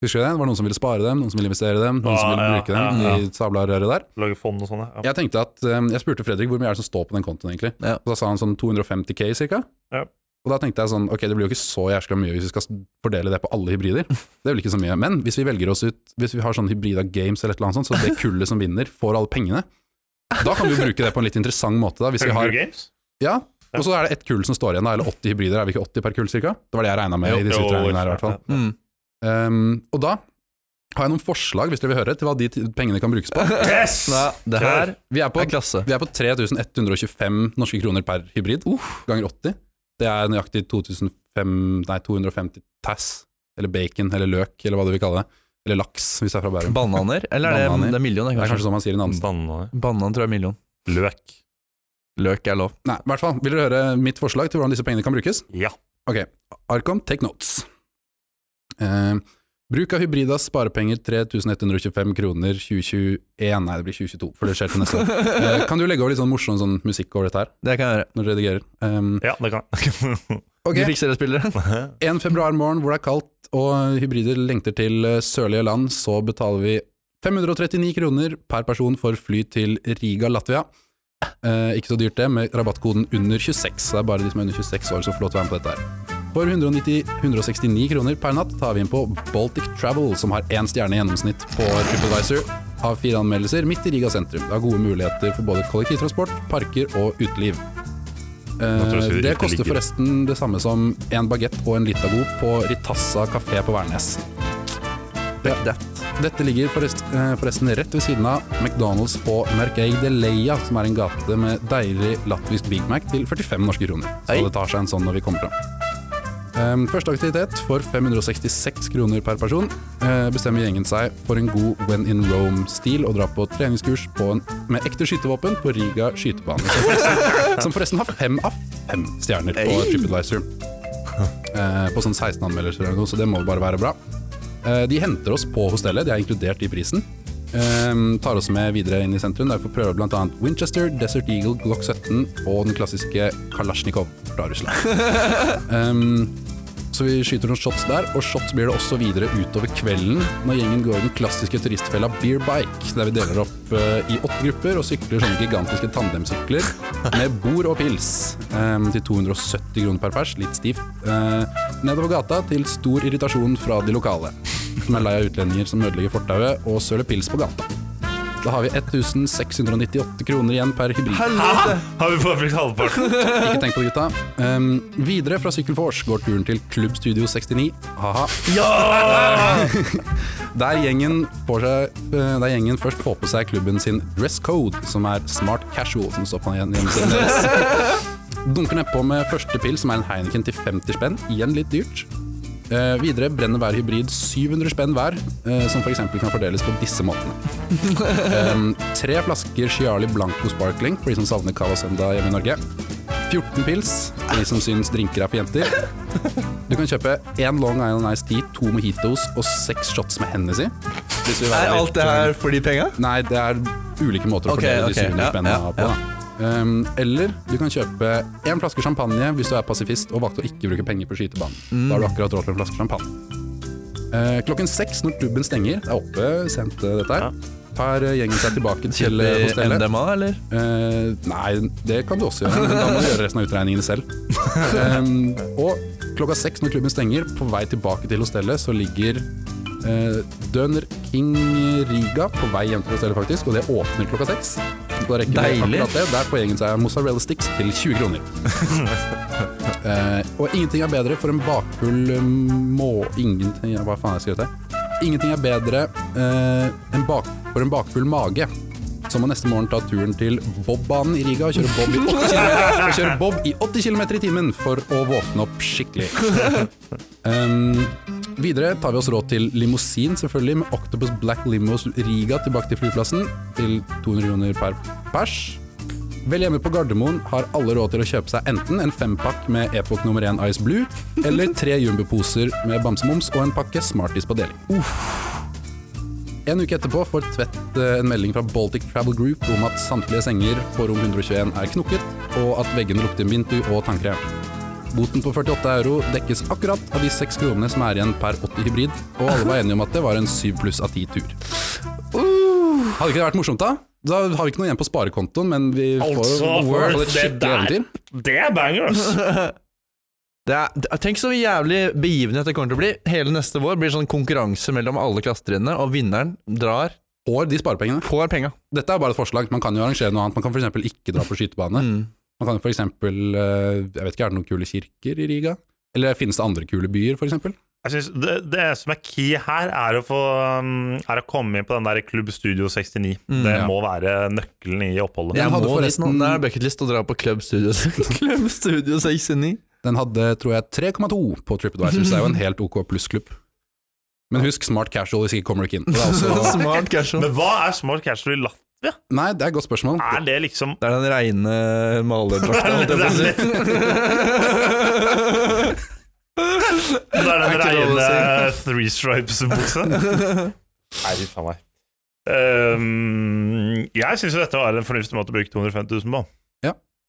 S2: Husker du det? Det var noen som ville spare dem, noen som ville investere dem, noen
S1: Ah,
S2: som
S1: Ja,
S2: ville
S1: ja,
S2: bruke dem
S1: ja,
S2: i sabla røret der.
S1: Lage fond og sånn, ja.
S2: Jeg tenkte at um, Jeg spurte Fredrik hvor mye er det som står på den kontoen, egentlig.
S3: Ja.
S2: Og da sa han sånn 250K, cirka.
S1: Ja.
S2: Og da tenkte jeg sånn Ok, det blir jo ikke så jæskla mye hvis vi skal fordele det på alle hybrider. Det blir ikke så mye. Men hvis vi velger oss ut Hvis vi har sånn hybrida games eller et eller annet sånt, så det kullet som vinner, får alle pengene. Da kan vi jo bruke det på en litt interessant måte, da. Hvis vi
S1: Hunger
S2: har
S1: Games?
S2: Ja. Og så er det ett kull som står igjen, da. Eller 80 hybrider. Er vi ikke 80 per kull, cirka? Det var det jeg regna med
S1: Jo,
S2: i disse
S1: jo,
S2: utregningene her, i hvert fall.
S3: Mm.
S2: Um, og da har jeg noen forslag, hvis dere vil høre, til hva de t- pengene kan brukes på.
S1: Yes!
S3: Nei, det her
S2: Vi er på
S3: er klasse.
S2: Vi er på 3125 norske kroner per hybrid, ganger 80. Det er nøyaktig 2005, nei, 250 tass, eller bacon, eller løk, eller hva du vil kalle det. Eller laks, hvis det er fra Bærum.
S3: Bananer? Eller er det,
S2: Bananer.
S3: det er million?
S2: Det
S3: Det,
S2: er
S3: kanskje.
S2: kanskje sånn man sier i
S1: Mm.
S2: en annen sted.
S1: Banna
S3: Banan tror jeg er million.
S1: Løk.
S3: Løk er lov.
S2: Nei, i hvert fall, vil dere høre mitt forslag til hvordan disse pengene kan brukes?
S1: Ja.
S2: Ok, Arkom, take notes. Eh, bruk av Hybridas sparepenger 3125 kroner 2021, nei det blir 2022, for det skjer til neste år. Eh, kan du legge over litt sånn morsom sånn musikk over dette her,
S3: Det kan jeg gjøre.
S2: når du redigerer? Um,
S1: ja, det kan jeg.
S2: Ok.
S3: Du fikk seriespillere?
S2: En februarmorgen hvor det er kaldt og hybrider lengter til eh, sørlige land, så betaler vi 539 kroner per person for fly til Riga, Latvia. Eh, ikke så dyrt det, med rabattkoden under 26. Så det er bare de som er under 26 år som får lov til å være med på dette her. For 190, 169 kroner per natt tar vi inn på Baltic Travel, som har én stjerne i gjennomsnitt på TripAdvisor. Har fire anmeldelser midt i Riga sentrum. Det har gode muligheter for både kollektivtransport, parker og uteliv.
S1: Nå tror jeg
S2: Eh,
S1: ikke
S2: det
S1: det
S2: koster
S1: ligger.
S2: forresten det samme som en bagett og en Litago på Ritassa kafé på Værnes.
S3: Fuck that.
S2: Dette ligger forresten, eh, forresten rett ved siden av McDonald's på Mercay de Leia, som er en gate med deilig latvisk Big Mac til 45 norske kroner. Så
S3: Hei.
S2: det tar seg en sånn når vi kommer fram. Ehm, første aktivitet for 566 kroner per person eh, bestemmer gjengen seg for en god When in Rome-stil og drar på treningskurs på en, med ekte skytevåpen på Riga skytebane, som forresten, som forresten har fem av fem stjerner på TripAdvisor. Eh, på sånn 16 anmeldelser eller noe, så det må bare være bra. Eh, De henter oss på hostellet, de er inkludert i prisen. Ehm, tar oss med videre inn i sentrum. Derfor prøver vi bl.a. Winchester, Desert Eagle, Glock 17 og den klassiske Kalasjnikov fra Russland. Ehm, så vi skyter noen shots der, og shots blir det også videre utover kvelden når gjengen går i den klassiske turistfella Beer Bike, der vi deler opp eh, i åtte grupper og sykler sånne gigantiske tandemsykler med bord og pils ehm, til 270 kroner per pers, litt stivt, eh, nedover gata til stor irritasjon fra de lokale, som er lei av utlendinger som ødelegger fortauet og søler pils på gata. Da har vi 1698 kroner igjen per hybrid.
S1: Hæ? Ah, Har vi bare brukt halvparten?
S2: Ikke tenk på det, gutta. Ehm, videre fra Sykkelfors går turen til Klubb Studio 69. Haha.
S1: Ja!
S2: Der gjengen, får seg, eh, der gjengen først får på seg klubben sin dress code, som er smart casual, som står på hjemmesiden deres. Dunker nedpå med første pill, som er en Heineken til 50 spenn. Igjen litt dyrt. Eh, videre brenner hver hybrid 700 spenn hver, eh, som f.eks. kan fordeles på disse måtene. Ehm, tre flasker Chiali Blanco Sparkling for de som savner Cava Søndag hjemme i Norge. 14 pils for de som syns drinker er for jenter. Du kan kjøpe én Long Island Ice Tea, to mojitos og seks shots med Hennessy. Hvis vi vil være
S3: Er
S2: litt,
S3: alt det her for de penga?
S2: Nei, det er ulike måter å
S3: Ok,
S2: fordele
S3: ok,
S2: de 700
S3: ja,
S2: spennene
S3: ja,
S2: på. Da. Um, eller du kan kjøpe én flaske champagne hvis du er pasifist og valgte å ikke bruke penger på skytebanen.
S3: Mm.
S2: Da har du akkurat råd til en flaske champagne. Eh, klokken seks når klubben stenger, det er oppe sent eh, dette her, tar eh, gjengen seg tilbake til eh,
S3: Kjøper vi
S2: hostellet.
S3: MDMA, eller?
S2: Eh, nei, det kan du også gjøre, men da må du gjøre resten av utregningene selv. Ehm, og klokka seks når klubben stenger, på vei tilbake til hostellet, så ligger eh, Døner King Riga på vei hjem til hostellet, faktisk, og det åpner klokka seks. Så Da rekker vi
S3: Deilig.
S2: akkurat det. Der får gjengen seg mozzarella sticks til 20 kroner. Eh, og ingenting er bedre for en bakfull eh, må... Ingenting ja, Hva faen har jeg skrevet her? Ingenting er bedre eh, enn bak, for en bakfull mage. Så må neste morgen ta turen til Bob-banen i Riga og kjøre Bob i 80 km, og kjøre bob i 80 kilometer i timen for å våkne opp skikkelig. Ehm, videre tar vi oss råd til limousin, selvfølgelig, med Octopus Black Limos Riga tilbake til flyplassen, til 200 kroner per pers. Vel hjemme på Gardermoen har alle råd til å kjøpe seg enten en fempakk med Epoch nummer 1 Ice Blue, eller tre jumboposer med bamsemums og en pakke Smarties på deling. En uke etterpå får Tvedt eh, en melding fra Baltic Travel Group om at samtlige senger på rom 121 er knokket, og at veggene lukter vindu og tannkrem. Boten på 48 euro dekkes akkurat av de seks kronene som er igjen per 80 hybrid, og alle var enige om at det var en 7 pluss av 10 tur.
S1: Uh.
S2: Hadde ikke det vært morsomt, da? Da har vi ikke noe igjen på sparekontoen, men vi får jo
S1: Altså,
S2: i hvert fall
S1: for
S2: et
S1: det
S2: skikkelig
S1: der
S2: eventyr.
S1: Det er banger, ass.
S3: Det er, det- tenk så jævlig begivenhet det kommer til å bli. Hele neste vår blir sånn konkurranse mellom alle klassetrinnene, og vinneren drar,
S2: Får de sparepengene.
S3: får penga.
S2: Dette er bare et forslag. Man kan jo arrangere noe annet. Man kan f.eks. ikke dra på skytebane.
S3: Mm.
S2: Man kan f.eks. Jeg vet ikke, er det noen kule kirker i Riga? Eller finnes det andre kule byer, f.eks.?
S1: Jeg synes det, det som er key her, er å, få, um, er å komme inn på den der Klubb Studio 69.
S3: Mm,
S1: det
S2: ja.
S1: må være nøkkelen i oppholdet.
S2: Ja. Den
S3: Jeg
S2: hadde
S3: må dit nå.
S2: forresten-
S3: Det er bucketlist å dra på Club Studio, Club Studio 69.
S2: Den hadde, tror jeg, 3,2 på TripAdvisor, så det er jo en helt ok plussklubb. Men husk smart casual hvis ikke kommer du ikke inn. Det er også,
S3: Smart, kanskje.
S1: Men hva er smart casual i latt?
S2: nei, det er et godt spørsmål.
S1: Er det liksom
S3: Det er den reine malerdrakta, holdt jeg på
S1: Det
S3: å si.
S1: Det er den
S3: Er ikke lov å
S1: reine
S3: si.
S1: three stripes-buksa. Nei, fy faen meg. Ehm, Um, jeg syns jo dette var en fornuftig måte å bruke 250 000 på.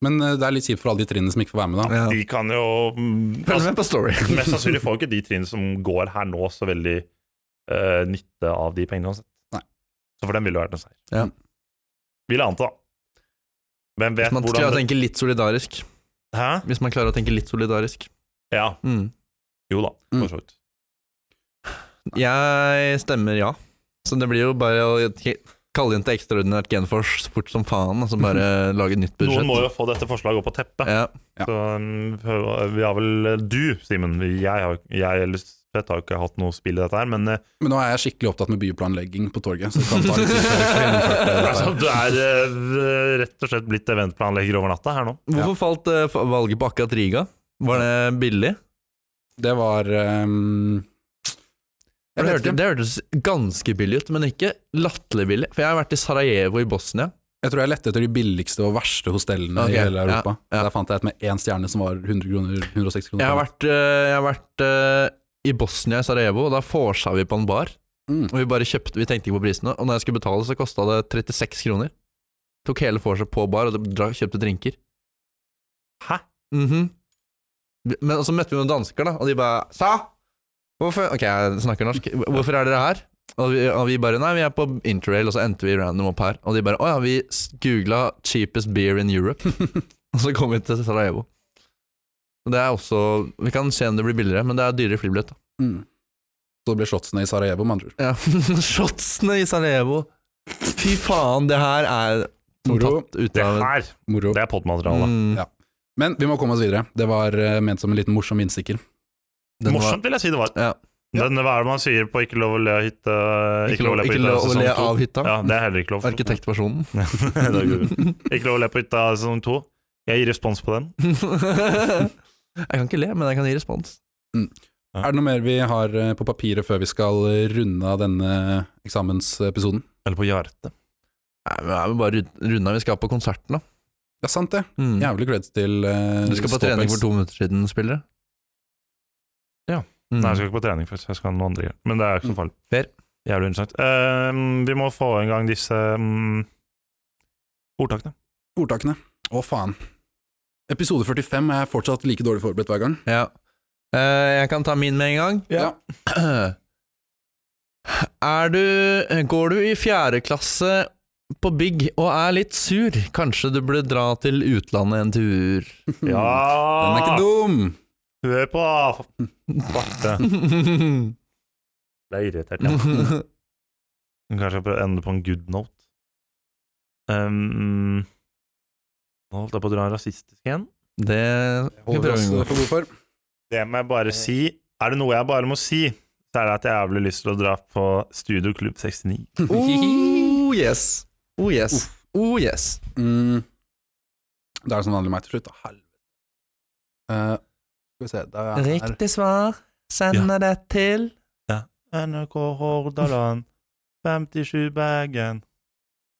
S2: Men eh, det er litt kjipt for alle de trinnene som ikke får være med, da.
S3: Ja.
S1: De kan jo mm,
S3: Følg med på Story.
S1: Mest sannsynlig får ikke de trinn som går her nå, så veldig eh, nytte av de pengene uansett.
S2: Nei.
S1: Så for dem ville det vært en seier.
S3: Ja.
S1: Vil jeg anta. Hvem vet
S3: Hvis man klarer å
S1: hvordan
S3: tenke litt solidarisk.
S1: Hæ?
S3: Hvis man klarer å tenke litt solidarisk.
S1: Ja,
S3: Mm.
S1: jo da,
S2: Mm.
S1: for så vidt.
S3: Jeg stemmer ja. Så det blir jo bare å kalle inn til ekstraordinært Genfors så fort som faen, og så bare lage nytt budsjett.
S1: Noen må jo få dette forslaget opp på teppet.
S3: ja.
S2: Ja.
S1: Så um, prøv- vi har vel eh, Du, Simen. Jeg, har- jeg eller Svet har jo ikke hatt noe spill i dette her, men eh,
S2: Men nå er jeg skikkelig opptatt med byplanlegging på torget, så det kan ta litt tid før jeg får gjennomført det.
S1: altså, du er eh, rett og slett blitt eventplanlegger over natta her nå.
S3: Hvorfor falt eh, fa- valget på akkurat Riga? Var det billig?
S2: Det var ehm, Jeg
S3: For Det
S2: vet
S3: hørtes,
S2: ikke.
S3: det hørtes ganske billig ut, men ikke latterlig billig. For jeg har vært i Sarajevo i Bosnia.
S2: Jeg tror jeg lette etter de billigste og verste hostellene
S3: Ok,
S2: i hele Europa.
S3: ja, ja.
S2: Der fant jeg et med én stjerne som var 100 kroner, 106 kroner.
S3: Jeg har vært, eh, jeg har vært eh, i Bosnia, i Sarajevo, og da forsa vi på en bar.
S2: Mm.
S3: Og vi bare kjøpte, vi tenkte ikke på prisene. Og når jeg skulle betale, så kosta det 36 kroner. Tok hele vorset på bar og dra- kjøpte drinker.
S1: Hæ?
S3: Mhm. Men og så møtte vi noen dansker, da, og de bare Sa! Hvorfor Ok, jeg snakker norsk. Hvorfor er dere her? Og vi, og vi bare Nei, vi er på interrail, og så endte vi random opp her. Og de bare Å ja, vi s- googla 'cheapest beer in Europe', og så kom vi til Sarajevo. Og Det er også Vi kan se om det blir billigere, men det er dyrere flybillett. da.
S2: Mm. Så ble shotsene i Sarajevo, med andre ord.
S3: Ja, Shotsene i Sarajevo. Fy faen, det her er som
S2: Moro.
S3: tatt ut
S1: Det
S3: av
S1: her,
S2: Moro.
S1: det er podmateriale.
S3: Mm,
S2: Ja. Men vi må komme oss videre. Det var eh, ment som en liten morsom innsikker.
S3: den var-
S1: Morsomt, vil jeg si det var.
S3: Ja.
S1: Den, hva er det man sier på 'ikke lov å le av hytte'?
S3: Ikke lov ikke lov å
S1: sesong
S3: le
S1: to?
S3: av hytta.
S1: Ja, det er heller ikke lov.
S3: Arkitektversjonen.
S1: Det er ikke- ikke lov å le på hytta sesong to. Jeg gir respons på den.
S3: jeg kan ikke le, men jeg kan gi respons.
S1: Ja.
S2: Er det noe mer vi har eh, på papiret før vi skal eh, runde av denne eksamensepisoden?
S1: Eller på Jarte.
S3: Nei, men er vi bare rund- runda vi skal på konserten, da.
S2: Det er sant, det.
S3: Mm.
S2: Jævlig creds til eh,
S3: Du skal på trening for to minutter siden, spillere.
S1: Ja.
S3: Mm.
S1: Nei, jeg skal ikke på trening først. Jeg skal ha noe andre greier. Men det er ikke så farlig.
S3: Fair.
S1: Jævlig interessant. Eh, vi må få en gang disse mm, ordtakene.
S2: Ordtakene. Å, faen. Episode 45 er jeg fortsatt like dårlig forberedt hver gang.
S3: Ja. Eh, jeg kan ta min med en gang.
S2: Ja.
S3: Er du Går du i fjerde klasse på bygg og er litt sur, kanskje du burde dra til utlandet en tur?
S2: Den er ikke
S1: Ja!
S2: dum!
S1: Hør på! Svarte. Ble irritert, ja. Men Kanskje jeg prøver å ende på en good note. Um, nå holdt jeg på å dra en rasistisk igjen.
S3: Det skal vi
S2: Holder
S3: prøve
S2: oss
S3: en gang.
S2: for god for.
S1: Det må jeg bare si. Er det noe jeg bare må si, så er det at jeg har jævlig lyst til å dra på Studio Klubb 69.
S3: Oh yes. Oh yes. Oh yes.
S2: Mm. Det er som vanlig meg til slutt, da. Helvete. Eh, skal vi se det er,
S3: svar sender det til
S1: NRK Hordaland, 57 Bergen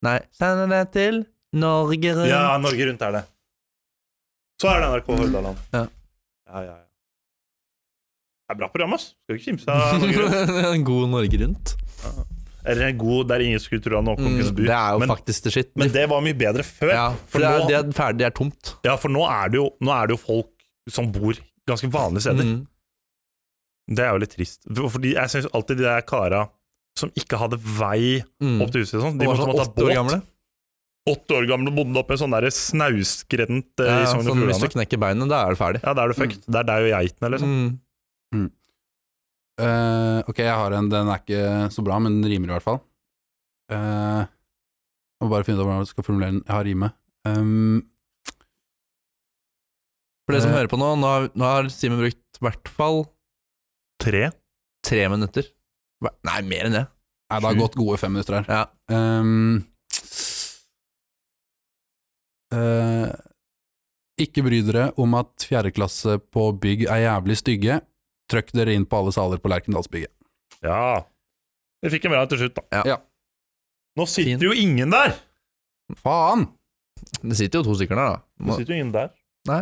S3: Nei, sender det til Norge Rundt.
S1: Ja, Norge Rundt er det. Så er det NRK Hordaland.
S3: Ja.
S1: ja, ja. ja. Det er bra program, ass. Skal ikke kimse av Norge Rundt.
S3: en god Norge Rundt.
S1: Er det god der ingen skulle tro han var kongens
S3: Mm,
S1: by?
S3: det er jo
S1: men,
S3: faktisk det shit.
S1: men det var mye bedre før.
S3: ja,
S1: for
S3: for det er,
S1: nå-
S3: det er ferdig, det er tomt.
S1: Ja, for nå er det jo, nå er det jo folk som bor ganske vanlige steder.
S3: Mm.
S1: Det er jo litt trist. For- Fordi jeg syns alltid de der kara som ikke hadde vei
S3: Mm.
S1: opp til huset, og sånn, de
S3: Og var
S1: måtte
S3: sånn
S1: måtte ta
S3: åtte år
S1: båt.
S3: gamle.
S1: Åtte år gamle bodde oppe i en sånn der snausgrend eh,
S3: Ja,
S1: i Sogn og
S3: sånn, hvis du
S1: Fjordane.
S3: knekker beinet, da er det ferdig.
S1: Ja, da er du fucked. Det er deg og geitene, liksom.
S3: Mm.
S2: Eh, ok, jeg har en. Den er ikke så bra, men den rimer i hvert fall. Eh, må bare finne ut av hvordan jeg skal formulere den. Jeg har rime. Um,
S3: For det som
S2: Eh.
S3: hører på nå, nå har, nå har Simen brukt i hvert fall
S1: Tre.
S3: tre minutter. Hver- Nei, mer enn det.
S2: nei, det har
S1: Sju.
S2: gått gode fem minutter her.
S3: Ja.
S2: Um, eh, ikke bry dere om at fjerdeklasse på bygg er jævlig stygge. Trøkk dere inn på alle saler på Lerkendalsbygget.
S1: Ja. Vi fikk en bra til slutt, da.
S3: Ja.
S2: Ja.
S1: Nå sitter
S3: Fin.
S1: jo ingen der!
S2: Faen!
S3: Det sitter jo to stykker der, da.
S1: Nå
S3: Må,
S1: sitter jo ingen der.
S3: Nei.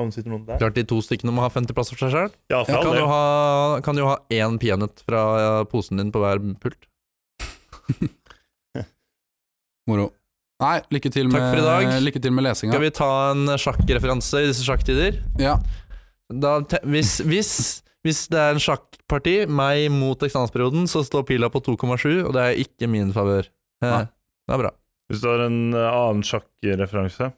S1: Om det sitter noen der.
S3: klart de to stykkene må ha 50 plasser for seg sjøl.
S1: Ja, for all
S3: Kan,
S1: del.
S3: jo ha- kan jo ha én peanøtt fra eh, ja, posen din på hver pult.
S2: Moro. Nei, lykke til
S3: Takk
S2: med,
S3: for i dag.
S2: Lykke til med lesinga.
S3: Skal vi ta en sjakkreferanse i disse sjakktider?
S2: Ja.
S3: Da, te- hvis, hvis, hvis det er en sjakkparti, meg mot eksamensperioden, så står pila på 2,7, og det er ikke min favør. Eh,
S2: Nei.
S3: Det er bra.
S1: Hvis du har en eh, annen sjakkreferanse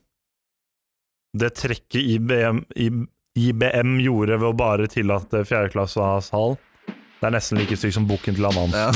S1: Det trekket IBM, I- IBM gjorde ved å bare tillate fjerdeklasse å ha sal, det er nesten like stygt som bukken til Annan.
S3: Ja.